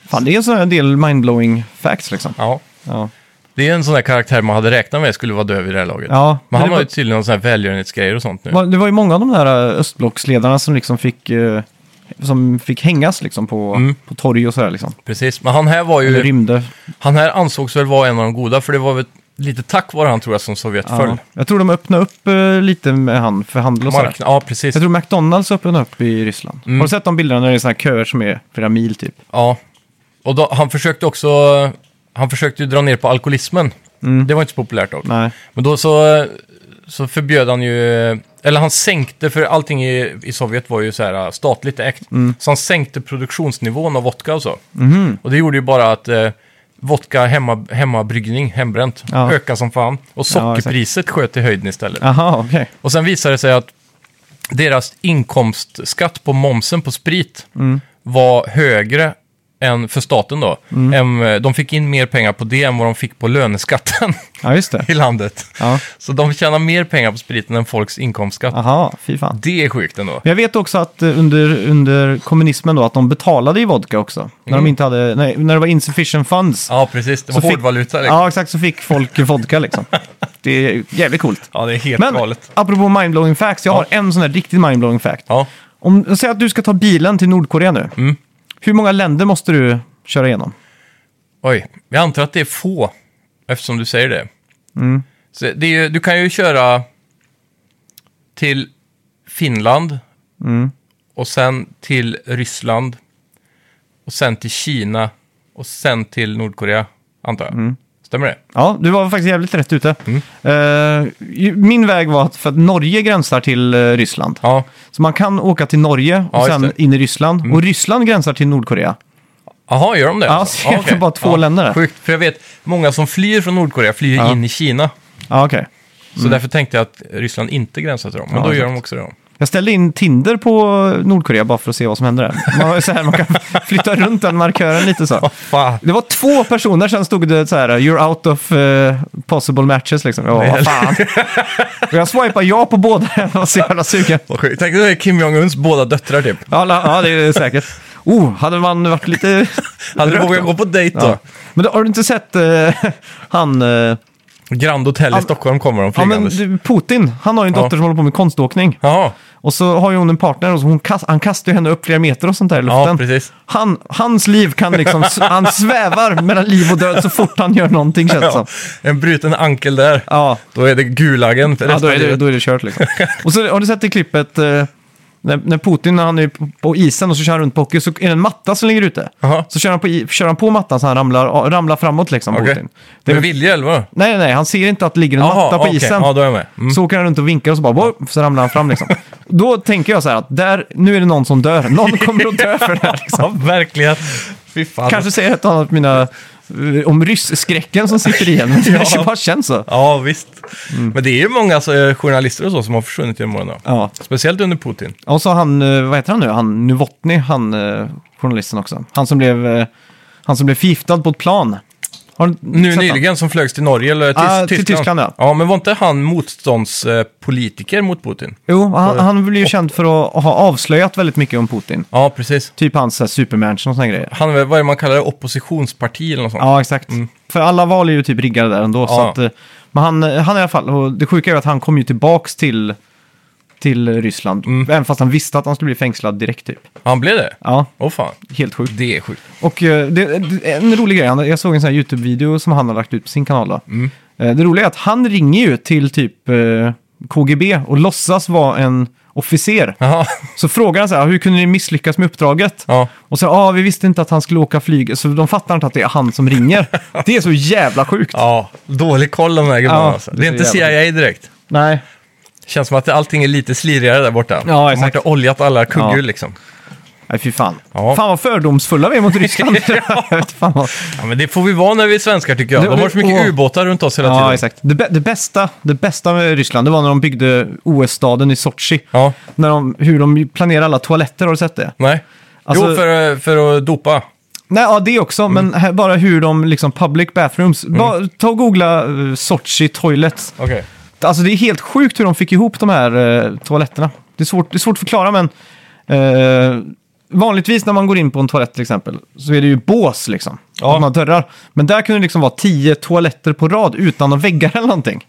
Speaker 1: Fan, det är så en del mindblowing facts liksom.
Speaker 2: Ja.
Speaker 1: Ja.
Speaker 2: Det är en sån där karaktär man hade räknat med skulle vara död vid det här laget.
Speaker 1: Ja,
Speaker 2: men
Speaker 1: men
Speaker 2: han
Speaker 1: det
Speaker 2: har
Speaker 1: var-
Speaker 2: ju tydligen någon sån här välgörenhetsgrejer och sånt nu.
Speaker 1: Va- Det var ju många av de där eh, östblocksledarna som liksom fick, eh, som fick hängas liksom på,
Speaker 2: Mm.
Speaker 1: på torg och sådär liksom.
Speaker 2: Precis, men han här var
Speaker 1: Eller
Speaker 2: ju...
Speaker 1: rymde.
Speaker 2: Han här ansågs väl vara en av de goda, för det var väl lite tack vare han tror jag som Sovjet
Speaker 1: Ja.
Speaker 2: föll.
Speaker 1: Jag tror de öppnade upp eh, lite med han för handel och sådär.
Speaker 2: Mark- ja, precis.
Speaker 1: Jag tror McDonalds öppnade upp i Ryssland.
Speaker 2: Mm.
Speaker 1: Har du sett de bilderna när det är sådana här köer som är flera mil typ?
Speaker 2: Ja. Och då, han försökte också... Han försökte ju dra ner på alkoholismen. Det var inte så populärt dock.
Speaker 1: Mm. Nej.
Speaker 2: Men då så, så förbjöd han ju, eller han sänkte, för allting i, i Sovjet var ju så här äh, statligt ägt.
Speaker 1: Mm.
Speaker 2: Så han sänkte produktionsnivån av vodka och så.
Speaker 1: Mhm.
Speaker 2: Och det gjorde ju bara att eh, vodka hemma, hemmabryggning, hembränt,
Speaker 1: Ja.
Speaker 2: ökade som fan. Och
Speaker 1: Ja,
Speaker 2: sockerpriset sköt i höjden istället.
Speaker 1: Aha, okej.
Speaker 2: Och sen visade det sig att deras inkomstskatt på momsen på sprit
Speaker 1: Mm.
Speaker 2: var högre än för staten då.
Speaker 1: Mm.
Speaker 2: Än, eh, de fick in mer pengar på det än vad de fick på löneskatten
Speaker 1: Ja, just det.
Speaker 2: i landet.
Speaker 1: Ja.
Speaker 2: Så de tjänar mer pengar på spriten än folks inkomstskatt.
Speaker 1: Aha, fy fan.
Speaker 2: Det är sjukt ändå.
Speaker 1: Men Jag vet också att eh, under, under kommunismen då, att de betalade i vodka också. När, de inte hade, nej, när det var insufficient funds.
Speaker 2: Mm. Ja, precis. Det var
Speaker 1: så fick-
Speaker 2: hårdvaluta. Liksom.
Speaker 1: Ja, exakt. Så fick folk vodka liksom. Det är jävligt coolt.
Speaker 2: Ja, det är helt
Speaker 1: Men
Speaker 2: galet.
Speaker 1: apropå mindblowing facts, jag har en sån här riktigt mindblowing fact.
Speaker 2: Ja. Mm.
Speaker 1: Om, säg att du ska ta bilen till Nordkorea nu. Hur många länder måste du köra igenom?
Speaker 2: Oj, jag antar att det är få, eftersom du säger det.
Speaker 1: Mm.
Speaker 2: Så det är ju, du kan ju köra till Finland
Speaker 1: Mm.
Speaker 2: och sen till Ryssland och sen till Kina och sen till Nordkorea, antar jag.
Speaker 1: Mm.
Speaker 2: Stämmer det?
Speaker 1: Ja, du var faktiskt jävligt rätt ute.
Speaker 2: Mm.
Speaker 1: Eh, ju- min väg var att, för att Norge gränsar till eh, Ryssland.
Speaker 2: Ja,
Speaker 1: Så man kan åka till Norge och
Speaker 2: Ja, just
Speaker 1: sen
Speaker 2: det. Mm.
Speaker 1: in i Ryssland. Och Ryssland gränsar till Nordkorea.
Speaker 2: Jaha, gör de det? alltså?
Speaker 1: Ja, så är det
Speaker 2: okej.
Speaker 1: bara två länder där.
Speaker 2: Sjukt, för jag vet många som flyr från Nordkorea flyr
Speaker 1: Ja.
Speaker 2: in i Kina.
Speaker 1: Ja, okej.
Speaker 2: Så därför tänkte jag att Ryssland inte gränsar till dem, men
Speaker 1: Ja,
Speaker 2: då gör
Speaker 1: exakt.
Speaker 2: de också det. då.
Speaker 1: Jag ställde in Tinder på Nordkorea bara för att se vad som händer där. Man, har ju så här, man kan flytta runt den markören lite så.
Speaker 2: Fan.
Speaker 1: Det var två personer, sen stod det så här “You're out of eh, possible matches” liksom. Ja, vad fan. Och jag swipade ja på båda, jag var så jävla sugen.
Speaker 2: Vad sjukt. Tänk dig Kim Jong-Uns båda döttrar typ.
Speaker 1: Ja, la- ja, det är säkert. Oh, hade man varit lite...
Speaker 2: Hade du
Speaker 1: rökt
Speaker 2: vågat
Speaker 1: då?
Speaker 2: gå på dejt då?
Speaker 1: Ja. Men då, har du inte sett eh, han... eh,
Speaker 2: Grand Hotel i
Speaker 1: Ja,
Speaker 2: Stockholm kommer de
Speaker 1: ja, men
Speaker 2: flygandes.
Speaker 1: du, Putin, han har ju en
Speaker 2: Ja.
Speaker 1: dotter som håller på med konståkning.
Speaker 2: Jaha,
Speaker 1: Och så har ju hon en partner och så hon kast, han kastar ju henne upp flera meter och sånt där i
Speaker 2: Ja,
Speaker 1: luften.
Speaker 2: precis.
Speaker 1: han, hans liv kan liksom, han svävar mellan liv och död så fort han gör någonting känns det
Speaker 2: ja.
Speaker 1: som.
Speaker 2: en bruten ankel där.
Speaker 1: Ja,
Speaker 2: Då är det Gulagen
Speaker 1: ja
Speaker 2: för
Speaker 1: då,
Speaker 2: resten av
Speaker 1: är det,
Speaker 2: livet.
Speaker 1: då är det kört liksom. Och så har du sett det klippet eh, när, när Putin, när han är på- på isen och så kör han runt på hockey, så är det en matta som ligger ute.
Speaker 2: Jaha.
Speaker 1: Så kör han, på, i- kör han på mattan så han ramlar, ramlar framåt liksom,
Speaker 2: Okej.
Speaker 1: Putin. Det är,
Speaker 2: Med vilja eller vadå?
Speaker 1: nej, nej, nej, han ser inte att det ligger en
Speaker 2: Jaha,
Speaker 1: matta på
Speaker 2: okej.
Speaker 1: isen.
Speaker 2: Ja, då är jag med. Mm.
Speaker 1: Så åker han runt och vinkar och så bara, "Wow", så ramlar han fram liksom. Då tänker jag så här att där, nu är det någon som dör. Någon kommer att dö för det här. Liksom.
Speaker 2: Ja, verkligen. Fy fan.
Speaker 1: Kanske säger ett och annat av mina eh, om rysskräcken som sitter i en. Det bara känns så.
Speaker 2: Ja, visst. Men det är ju många alltså, journalister och så som har försvunnit genom åren. då.
Speaker 1: Mm. Ja.
Speaker 2: Speciellt under Putin.
Speaker 1: Och så han, eh, vad heter han nu, han Novotny, han eh, journalisten också. Han som blev, eh, han som blev förgiftad på ett plan. Har du
Speaker 2: Nu
Speaker 1: sett han?
Speaker 2: nyligen som flögs till Norge eller till,
Speaker 1: Ah, till
Speaker 2: Tyskland.
Speaker 1: Tyskland, ja.
Speaker 2: men var inte han motståndspolitiker mot Putin?
Speaker 1: Jo, han, han blev ju känd för att ha avslöjat väldigt mycket om Putin.
Speaker 2: Ja, precis.
Speaker 1: Typ hans så här, supermansion och sådana grejer.
Speaker 2: Han är väl, vad är det man kallar det, oppositionsparti eller något sånt?
Speaker 1: Ja, exakt. För alla val är ju typ riggade där ändå. Så
Speaker 2: Ja.
Speaker 1: att, eh, men han, han i alla fall, och det sjuka är ju att han kom ju tillbaks till, till Ryssland. Även fast han visste att han skulle bli fängslad direkt typ.
Speaker 2: Han blev det?
Speaker 1: Ja,
Speaker 2: Åh fan,
Speaker 1: helt sjukt.
Speaker 2: det är sjukt.
Speaker 1: Och eh, det, det- en rolig grej, han- jag såg en sån här YouTube-video som han har lagt ut på sin kanal då. Eh, Det roliga är att han ringer ju till typ eh, KGB och låtsas vara en officer.
Speaker 2: Jaha,
Speaker 1: Så frågar han så här, hur kunde ni misslyckas med uppdraget?
Speaker 2: ja.
Speaker 1: Och så, ja, ah, vi visste inte att han skulle åka flyg, så de fattar inte att det är han som ringer. Det är så jävla sjukt.
Speaker 2: ja, dålig koll de här gubbarna
Speaker 1: Ja,
Speaker 2: alltså.
Speaker 1: det
Speaker 2: Det är
Speaker 1: är
Speaker 2: inte
Speaker 1: så
Speaker 2: CIA
Speaker 1: jävla-
Speaker 2: direkt.
Speaker 1: Nej,
Speaker 2: Känns som att allting är lite slirigare där borta.
Speaker 1: Ja,
Speaker 2: De har
Speaker 1: exakt.
Speaker 2: inte oljat alla kugghjul
Speaker 1: Ja.
Speaker 2: liksom.
Speaker 1: nej fy fan.
Speaker 2: Ja.
Speaker 1: Fan vad fördomsfulla vi är mot Ryssland. Jag vet fan vad...
Speaker 2: Ja, men det får vi vara när vi är svenskar tycker jag.
Speaker 1: Det-
Speaker 2: De har så mycket
Speaker 1: åh.
Speaker 2: ubåtar runt oss hela tiden.
Speaker 1: Ja, exakt. Det, bä- det, bästa, det bästa med Ryssland, det var när de byggde OS-staden i Sochi.
Speaker 2: Ja.
Speaker 1: När de, hur de planerar alla toaletter, har du sett det?
Speaker 2: Nej. jo,
Speaker 1: Alltså-
Speaker 2: för, för att dopa.
Speaker 1: Nej, ja det också,
Speaker 2: Mm.
Speaker 1: men här, bara hur de liksom public bathrooms. Bara, ta och googla uh, Sochi toilets.
Speaker 2: Okej.
Speaker 1: Alltså det är helt sjukt hur de fick ihop de här eh, toaletterna. Det är, svårt, det är svårt att förklara, men eh, vanligtvis när man går in på en toalett till exempel så är det ju bås liksom.
Speaker 2: Ja.
Speaker 1: Ja. Man dörrar. Men där kunde det liksom vara tio toaletter på rad utan några väggar eller någonting.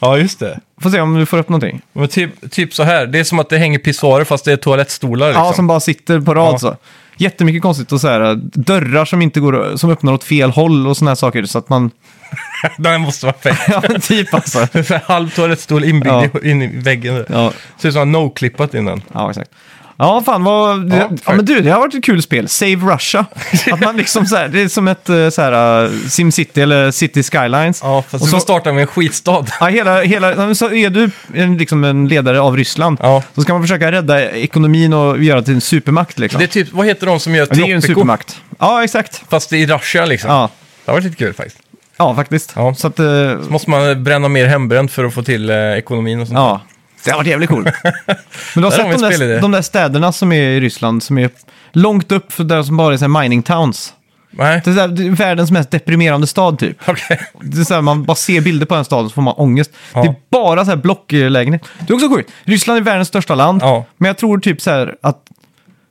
Speaker 2: Ja, just det.
Speaker 1: Får se om du får upp någonting.
Speaker 2: Men typ, typ så här, det är som att det hänger pissoarer fast det är toalettstolar liksom.
Speaker 1: Ja, som bara sitter på rad
Speaker 2: Ja.
Speaker 1: så. Jättemycket konstigt och så här, eh, dörrar som inte går, som öppnar åt fel håll och såna här saker. Så att man,
Speaker 2: Den måste vara fake.
Speaker 1: ja men typ alltså.
Speaker 2: Halv toalettstol inbyggd
Speaker 1: Ja.
Speaker 2: i- in i väggen.
Speaker 1: Ja.
Speaker 2: Ser ut som att han no-klippat in den.
Speaker 1: Ja, exakt. Ja, fan vad... Ja,
Speaker 2: faktiskt.
Speaker 1: ja, men du, det har varit ett kul spel. Save Russia. Att man liksom så här, det är som ett eh, så här, eh, SimCity eller City Skylines.
Speaker 2: Ja, fast
Speaker 1: och
Speaker 2: du
Speaker 1: så,
Speaker 2: får starta med en skitstad.
Speaker 1: ja, hela, hela, ja, men så är du en, liksom en ledare av Ryssland,
Speaker 2: Ja.
Speaker 1: så ska man försöka rädda ekonomin och göra till en supermakt. Liksom.
Speaker 2: Det är
Speaker 1: Det,
Speaker 2: typ, vad heter de som gör
Speaker 1: är ju en
Speaker 2: Tropico?
Speaker 1: supermakt. Ja, exakt.
Speaker 2: Fast i Russia liksom.
Speaker 1: Ja,
Speaker 2: Det har varit lite kul faktiskt.
Speaker 1: ja faktiskt.
Speaker 2: Ja.
Speaker 1: Så att... eh,
Speaker 2: Måste man bränna mer hembränt för att få till eh, ekonomin och sånt.
Speaker 1: ja. Det har varit jävligt coolt. Men du har
Speaker 2: Där har vi
Speaker 1: sett
Speaker 2: en
Speaker 1: de
Speaker 2: spelidé.
Speaker 1: där, de där städerna som är i Ryssland, som är långt upp, för där som bara är så här mining towns.
Speaker 2: Nej,
Speaker 1: Det är, så här, det är världens mest deprimerande stad typ.
Speaker 2: okej.
Speaker 1: Det är så här, man bara ser bilder på den staden så får man ångest.
Speaker 2: Ja.
Speaker 1: Det är bara så här blocklägenhet. Det är också sjukt. Ryssland är världens största land.
Speaker 2: Ja.
Speaker 1: Men jag tror typ så här att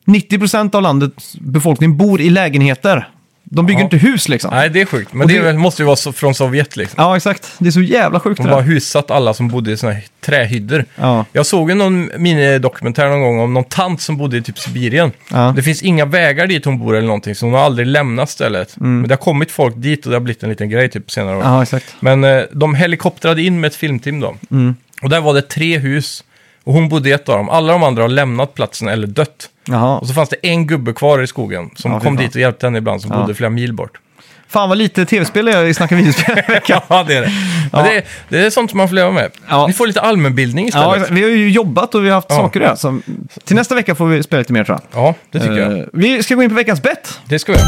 Speaker 1: 90% av landets befolkning bor i lägenheter. De bygger
Speaker 2: Ja.
Speaker 1: inte hus liksom.
Speaker 2: Nej, det är sjukt. Men
Speaker 1: Och
Speaker 2: det,
Speaker 1: det-
Speaker 2: är väl- måste ju vara så, från Sovjet liksom.
Speaker 1: Ja, exakt. Det är så jävla sjukt
Speaker 2: De
Speaker 1: det
Speaker 2: bara
Speaker 1: där.
Speaker 2: husat alla som bodde i såna här trähyddor.
Speaker 1: Ja.
Speaker 2: Jag såg ju någon minidokumentär någon gång om någon tant som bodde i typ Sibirien.
Speaker 1: Ja.
Speaker 2: Det finns inga vägar dit hon bor eller någonting, så hon har aldrig lämnat stället. Men det har kommit folk dit och det har blivit en liten grej typ på senare år.
Speaker 1: Mm. Ja, exakt.
Speaker 2: Men eh, de helikoptrade in med ett filmteam då.
Speaker 1: Mm.
Speaker 2: Och där var det tre hus. Och hon bodde i ett av dem. Alla de andra har lämnat platsen eller dött.
Speaker 1: Jaha.
Speaker 2: Och så fanns det en gubbe kvar i skogen som
Speaker 1: Ja, fy
Speaker 2: kom
Speaker 1: fan.
Speaker 2: dit och hjälpte henne ibland, som bodde flera mil bort.
Speaker 1: Fan vad lite tv-spel jag i Snacka videospel.
Speaker 2: Ja, det är det. Men
Speaker 1: Ja.
Speaker 2: det, är- det är sånt som man får leva med.
Speaker 1: Ja.
Speaker 2: Ni får lite allmänbildning istället.
Speaker 1: ja, exakt. vi har ju jobbat och vi har haft
Speaker 2: Ja.
Speaker 1: saker att göra. så Till nästa vecka får vi spela lite mer tror jag.
Speaker 2: Ja, det tycker jag.
Speaker 1: Eh, Vi ska gå in på veckans bett.
Speaker 2: Det ska vi göra.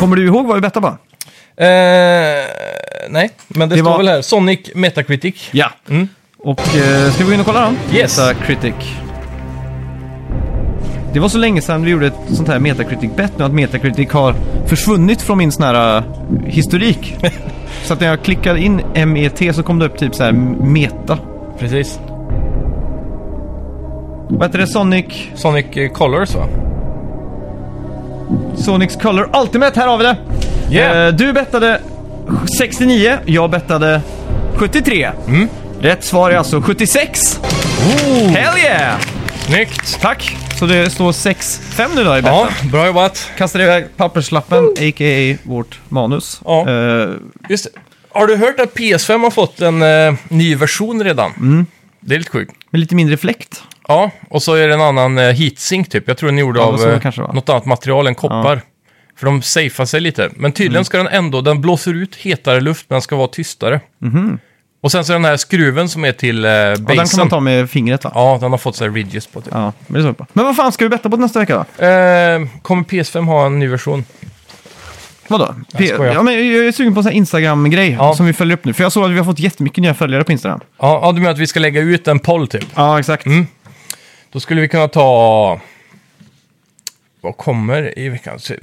Speaker 1: Kommer du ihåg vad vi bettade på?
Speaker 2: Eh, nej, men det,
Speaker 1: Det
Speaker 2: står
Speaker 1: var-
Speaker 2: väl här. Sonic Metacritic.
Speaker 1: Ja.
Speaker 2: Mm.
Speaker 1: Och eh, ska vi gå in och kolla då?
Speaker 2: Yes.
Speaker 1: Metacritic. Det var så länge sedan vi gjorde ett sånt här Metacritic-bett nu att Metacritic har försvunnit från min sån här eh, historik. så att när jag klickade in MET så kom det upp typ så här Meta.
Speaker 2: Precis.
Speaker 1: Vad heter det? Sonic...
Speaker 2: Sonic eh, Colors va?
Speaker 1: Sonics Color Ultimate, här har vi det!
Speaker 2: Yeah.
Speaker 1: Eh, du bettade 69, jag bettade 73.
Speaker 2: Mm.
Speaker 1: Rätt svar är alltså 76! Hell yeah!
Speaker 2: Snyggt!
Speaker 1: Tack! Så det står 6-5 nu då i betten.
Speaker 2: Ja, bra jobbat.
Speaker 1: Kastar iväg papperslappen, a.k.a. vårt manus.
Speaker 2: Ja.
Speaker 1: Eh,
Speaker 2: Just det. Har du hört att PS5 har fått en eh, ny version redan?
Speaker 1: Mm.
Speaker 2: Det är lite sjukt.
Speaker 1: med lite mindre fläkt.
Speaker 2: Ja, och så är det en annan eh, heatsink typ. Jag tror den är gjord
Speaker 1: Ja,
Speaker 2: av
Speaker 1: så
Speaker 2: eh,
Speaker 1: kanske det var.
Speaker 2: något annat material än koppar. För de
Speaker 1: Mm.
Speaker 2: safear sig lite. Men tydligen ska den ändå, den blåser ut hetare luft men den ska vara tystare. Och sen så den här skruven som är till eh, basen.
Speaker 1: Och Mhm. den kan man ta med fingret va?
Speaker 2: Ja, den har fått så här ridges på typ.
Speaker 1: Ja, men, det är så. men vad fan ska vi betta på nästa vecka då?
Speaker 2: Eh, kommer PS5 ha en ny version?
Speaker 1: Vadå? P-
Speaker 2: skojar.
Speaker 1: ja, men jag är sugen på en sån här Instagram-grej
Speaker 2: Ja.
Speaker 1: som vi följer upp nu. För jag såg att vi har fått jättemycket nya följare på Instagram. Mm.
Speaker 2: Ja, ja, du menar att vi ska lägga ut en poll typ?
Speaker 1: Ja, exakt.
Speaker 2: Då skulle vi kunna ta... Vad kommer i veckan? Så-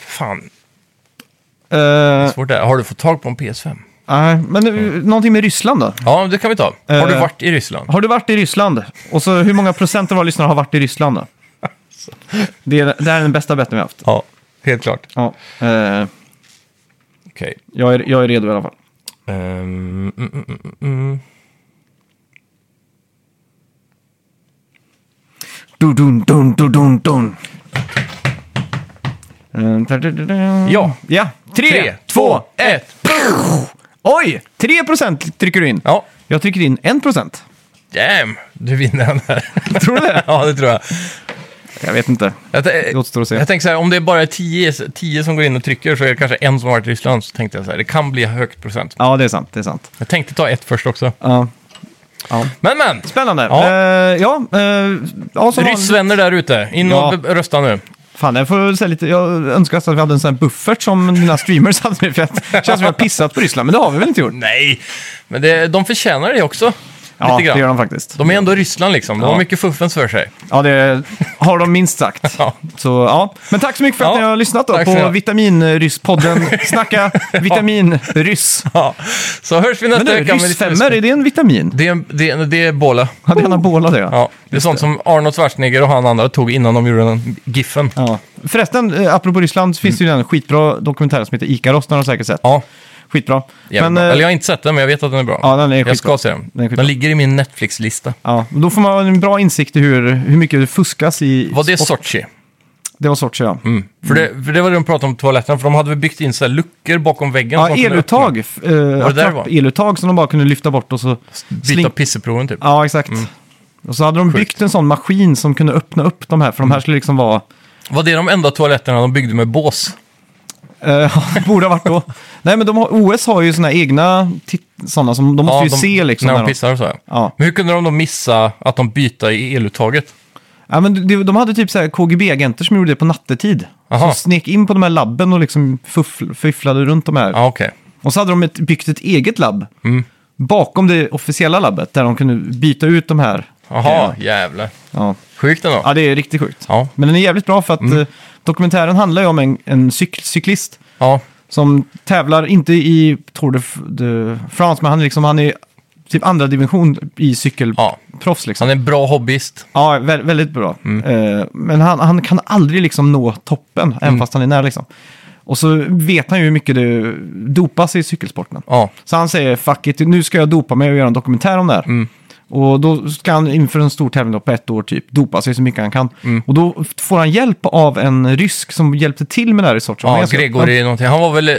Speaker 2: Fan,
Speaker 1: Eh,
Speaker 2: svårt där. Har du fått tag på en PS5?
Speaker 1: nej, men mm. någonting med Ryssland då?
Speaker 2: Ja, det kan vi ta. Har du
Speaker 1: Eh.
Speaker 2: varit i Ryssland?
Speaker 1: Har du varit i Ryssland? Och så hur många procent av våra lyssnare har varit i Ryssland då? Det, är, det här är den bästa betten vi har haft.
Speaker 2: Ja, helt klart.
Speaker 1: Ja, eh,
Speaker 2: Okej.
Speaker 1: jag, är, jag är redo i alla fall.
Speaker 2: Ehm, mm, mm, mm, mm.
Speaker 1: Du, dun, dun, du, dun, dun. Eh, ta-da-da-da.
Speaker 2: Ja.
Speaker 1: ja. Tre,
Speaker 2: Tre,
Speaker 1: två,
Speaker 2: ett!
Speaker 1: oj! 3 procent trycker du in.
Speaker 2: Ja,
Speaker 1: Jag trycker in 1 procent.
Speaker 2: damn! Du vinner den här.
Speaker 1: Tror du det?
Speaker 2: ja, det tror jag.
Speaker 1: Jag vet inte.
Speaker 2: Jag, t-
Speaker 1: Det återstår att se.
Speaker 2: jag tänker så här, om det är bara tio, tio som går in och trycker så är det kanske en som har varit i Ryssland. Så tänkte jag så här, det kan bli högt procent.
Speaker 1: Ja, det är sant. Det är sant.
Speaker 2: Jag tänkte ta ett först också.
Speaker 1: Ja. Ja.
Speaker 2: Men men!
Speaker 1: Spännande.
Speaker 2: Ja.
Speaker 1: Eh, ja, eh, ja, som vanligt.
Speaker 2: Ryssvänner där ute, in och
Speaker 1: Ja.
Speaker 2: b- rösta nu.
Speaker 1: Fan, jag, får säga lite, jag önskar att vi hade en sån här buffert som dina streamers hade. För att det känns som att vi har pissat på Ryssland, men det har vi väl inte gjort?
Speaker 2: Nej, men det, de förtjänar det också.
Speaker 1: Ja,
Speaker 2: lite
Speaker 1: det
Speaker 2: grann.
Speaker 1: gör de faktiskt.
Speaker 2: De är ändå i Ryssland liksom, de
Speaker 1: Ja.
Speaker 2: har mycket fuffens för sig.
Speaker 1: Ja, det har de minst sagt.
Speaker 2: Ja.
Speaker 1: Så, ja. Men tack så mycket för att
Speaker 2: Ja,
Speaker 1: ni har lyssnat då
Speaker 2: tack så
Speaker 1: på
Speaker 2: mycket.
Speaker 1: Vitaminryss-podden. Snacka vitaminryss.
Speaker 2: Ja. Så hörs vi nästa
Speaker 1: Men du,
Speaker 2: vecka. med lite-
Speaker 1: ryssfemmor, är det en vitamin?
Speaker 2: Det är, det, är- det är båla.
Speaker 1: Ja, det är en anabola det. Ja.
Speaker 2: Ja, det är sånt som Arnold Schwarzenegger och han andra tog innan de gjorde den giffen.
Speaker 1: Ja. Förresten, eh, apropå Ryssland, så finns det ju en skitbra dokumentär som heter Ikaros, den har du säkert sett.
Speaker 2: Mm. Ja,
Speaker 1: Skitbra.
Speaker 2: jävligt
Speaker 1: eh,
Speaker 2: bra. Eller jag har inte sett den, men jag vet att den är bra.
Speaker 1: Ja, den är
Speaker 2: jag
Speaker 1: skitbra.
Speaker 2: ska se den.
Speaker 1: Den är
Speaker 2: Den,
Speaker 1: skitbra.
Speaker 2: ligger i min Netflix-lista.
Speaker 1: Ja, men då får man en bra insikt i hur, hur mycket det fuskas i...
Speaker 2: Var det
Speaker 1: sport-
Speaker 2: Sochi?
Speaker 1: Det var Sochi, ja.
Speaker 2: Mm. För, det, för det var det de pratade om toaletterna, för de hade väl byggt in så här luckor bakom väggen. som
Speaker 1: Ja,
Speaker 2: man kunde
Speaker 1: eluttag.
Speaker 2: det där det var?
Speaker 1: Uh, eluttag som de bara kunde lyfta bort och så...
Speaker 2: öppna. Byta pisseproven typ.
Speaker 1: Ja, exakt. Och så hade de byggt en sån maskin som kunde öppna upp de här, för de
Speaker 2: Mm.
Speaker 1: här skulle liksom vara...
Speaker 2: Var det de enda toaletterna de byggde med bås?
Speaker 1: eh, borde ha varit då. Nej, men de har, OS har ju sina egna tit- sådana som de måste ju
Speaker 2: de,
Speaker 1: se liksom.
Speaker 2: När de
Speaker 1: när de-
Speaker 2: pissar och så. här.
Speaker 1: Ja.
Speaker 2: Men hur kunde de då missa att de byta i eluttaget?
Speaker 1: Ja, men de, de hade typ så här KGB-agenter som gjorde det på nattetid.
Speaker 2: Aha.
Speaker 1: Som snek in på de här labben och liksom fuffl, fifflade runt de här.
Speaker 2: Ja, Mm. okej.
Speaker 1: Och så hade de ett, byggt ett eget labb bakom det officiella labbet där de kunde byta ut de här.
Speaker 2: Jaha, jävlar.
Speaker 1: Ja.
Speaker 2: Sjukt ändå.
Speaker 1: ja, det är riktigt sjukt.
Speaker 2: Ja. Mm.
Speaker 1: Men den är jävligt bra för att eh, dokumentären handlar ju om en, en cyk- cyklist
Speaker 2: Ja.
Speaker 1: som tävlar, inte i Tour de, F- de France, men han, är liksom, han är typ andra division i
Speaker 2: Ja.
Speaker 1: cykelproffs. Liksom.
Speaker 2: Han Mm. är en bra hobbyist.
Speaker 1: Ja, vä- väldigt bra. Eh, men han, han kan aldrig liksom nå toppen, även
Speaker 2: Mm.
Speaker 1: fast han är nära. Liksom. Och så vet han ju hur mycket det dopas i cykelsporten.
Speaker 2: Ja.
Speaker 1: Så han säger, fuck it, nu ska jag dopa mig och göra en dokumentär om det här.
Speaker 2: Mm.
Speaker 1: Och då ska han inför en stor tävling då på ett år typ dopa sig så mycket han kan.
Speaker 2: Mm.
Speaker 1: Och då får han hjälp av en rysk som hjälpte till med det här i Sochi. Han är
Speaker 2: Ja,
Speaker 1: ganska-
Speaker 2: Gregory någonting. Han var väl eh,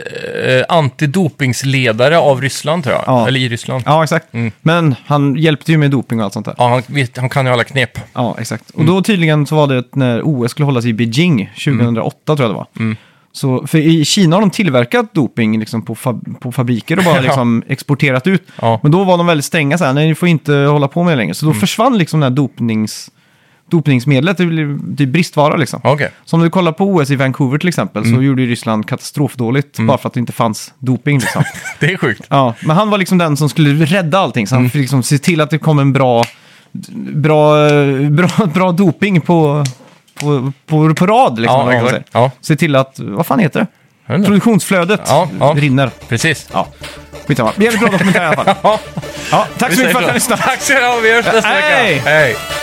Speaker 2: antidopingsledare av Ryssland tror jag.
Speaker 1: Ja.
Speaker 2: Eller i Ryssland. Ja, Mm.
Speaker 1: Ja, exakt. Men han hjälpte ju med doping och allt sånt där.
Speaker 2: han, vet, han kan ju alla knep.
Speaker 1: Ja, exakt. Och
Speaker 2: Mm.
Speaker 1: då tydligen så var det när OS skulle hållas i Beijing 2008 tror jag det var.
Speaker 2: Mm.
Speaker 1: Så, för i Kina har de tillverkat doping liksom, på, fab- på fabriker och bara liksom, exporterat ut.
Speaker 2: Ja. Mm.
Speaker 1: Men då var de väldigt stränga så här, nej ni får inte hålla på med det längre. Så då försvann liksom det här dopnings, dopningsmedlet, det blev typ bristvara liksom.
Speaker 2: Ja, Mm. Okej.
Speaker 1: Så om du kollar på OS i Vancouver till exempel så gjorde ju Ryssland katastrofdåligt
Speaker 2: Mm.
Speaker 1: bara för att det inte fanns doping liksom.
Speaker 2: Det är sjukt.
Speaker 1: Ja, men han var liksom den som skulle rädda allting. Så han
Speaker 2: Mm.
Speaker 1: fick liksom se till att det kom en bra, bra, eh, bra, bra doping på, på, på, på rad. Liksom, eller
Speaker 2: Ja,
Speaker 1: vad man
Speaker 2: exakt.
Speaker 1: säger.
Speaker 2: Ja.
Speaker 1: Se till att, vad fan heter
Speaker 2: Jag
Speaker 1: det?
Speaker 2: vet inte.
Speaker 1: Produktionsflödet
Speaker 2: Ja, ja.
Speaker 1: rinner.
Speaker 2: Precis.
Speaker 1: Ja, skitsamma. Jävligt bra dokumentär i alla fall.
Speaker 2: Ja,
Speaker 1: Ja, tack
Speaker 2: vi
Speaker 1: så mycket
Speaker 2: säger
Speaker 1: för att ni har lyssnat.
Speaker 2: Tack så mycket. Vi hörs nästa
Speaker 1: Hej!
Speaker 2: vecka. Hej!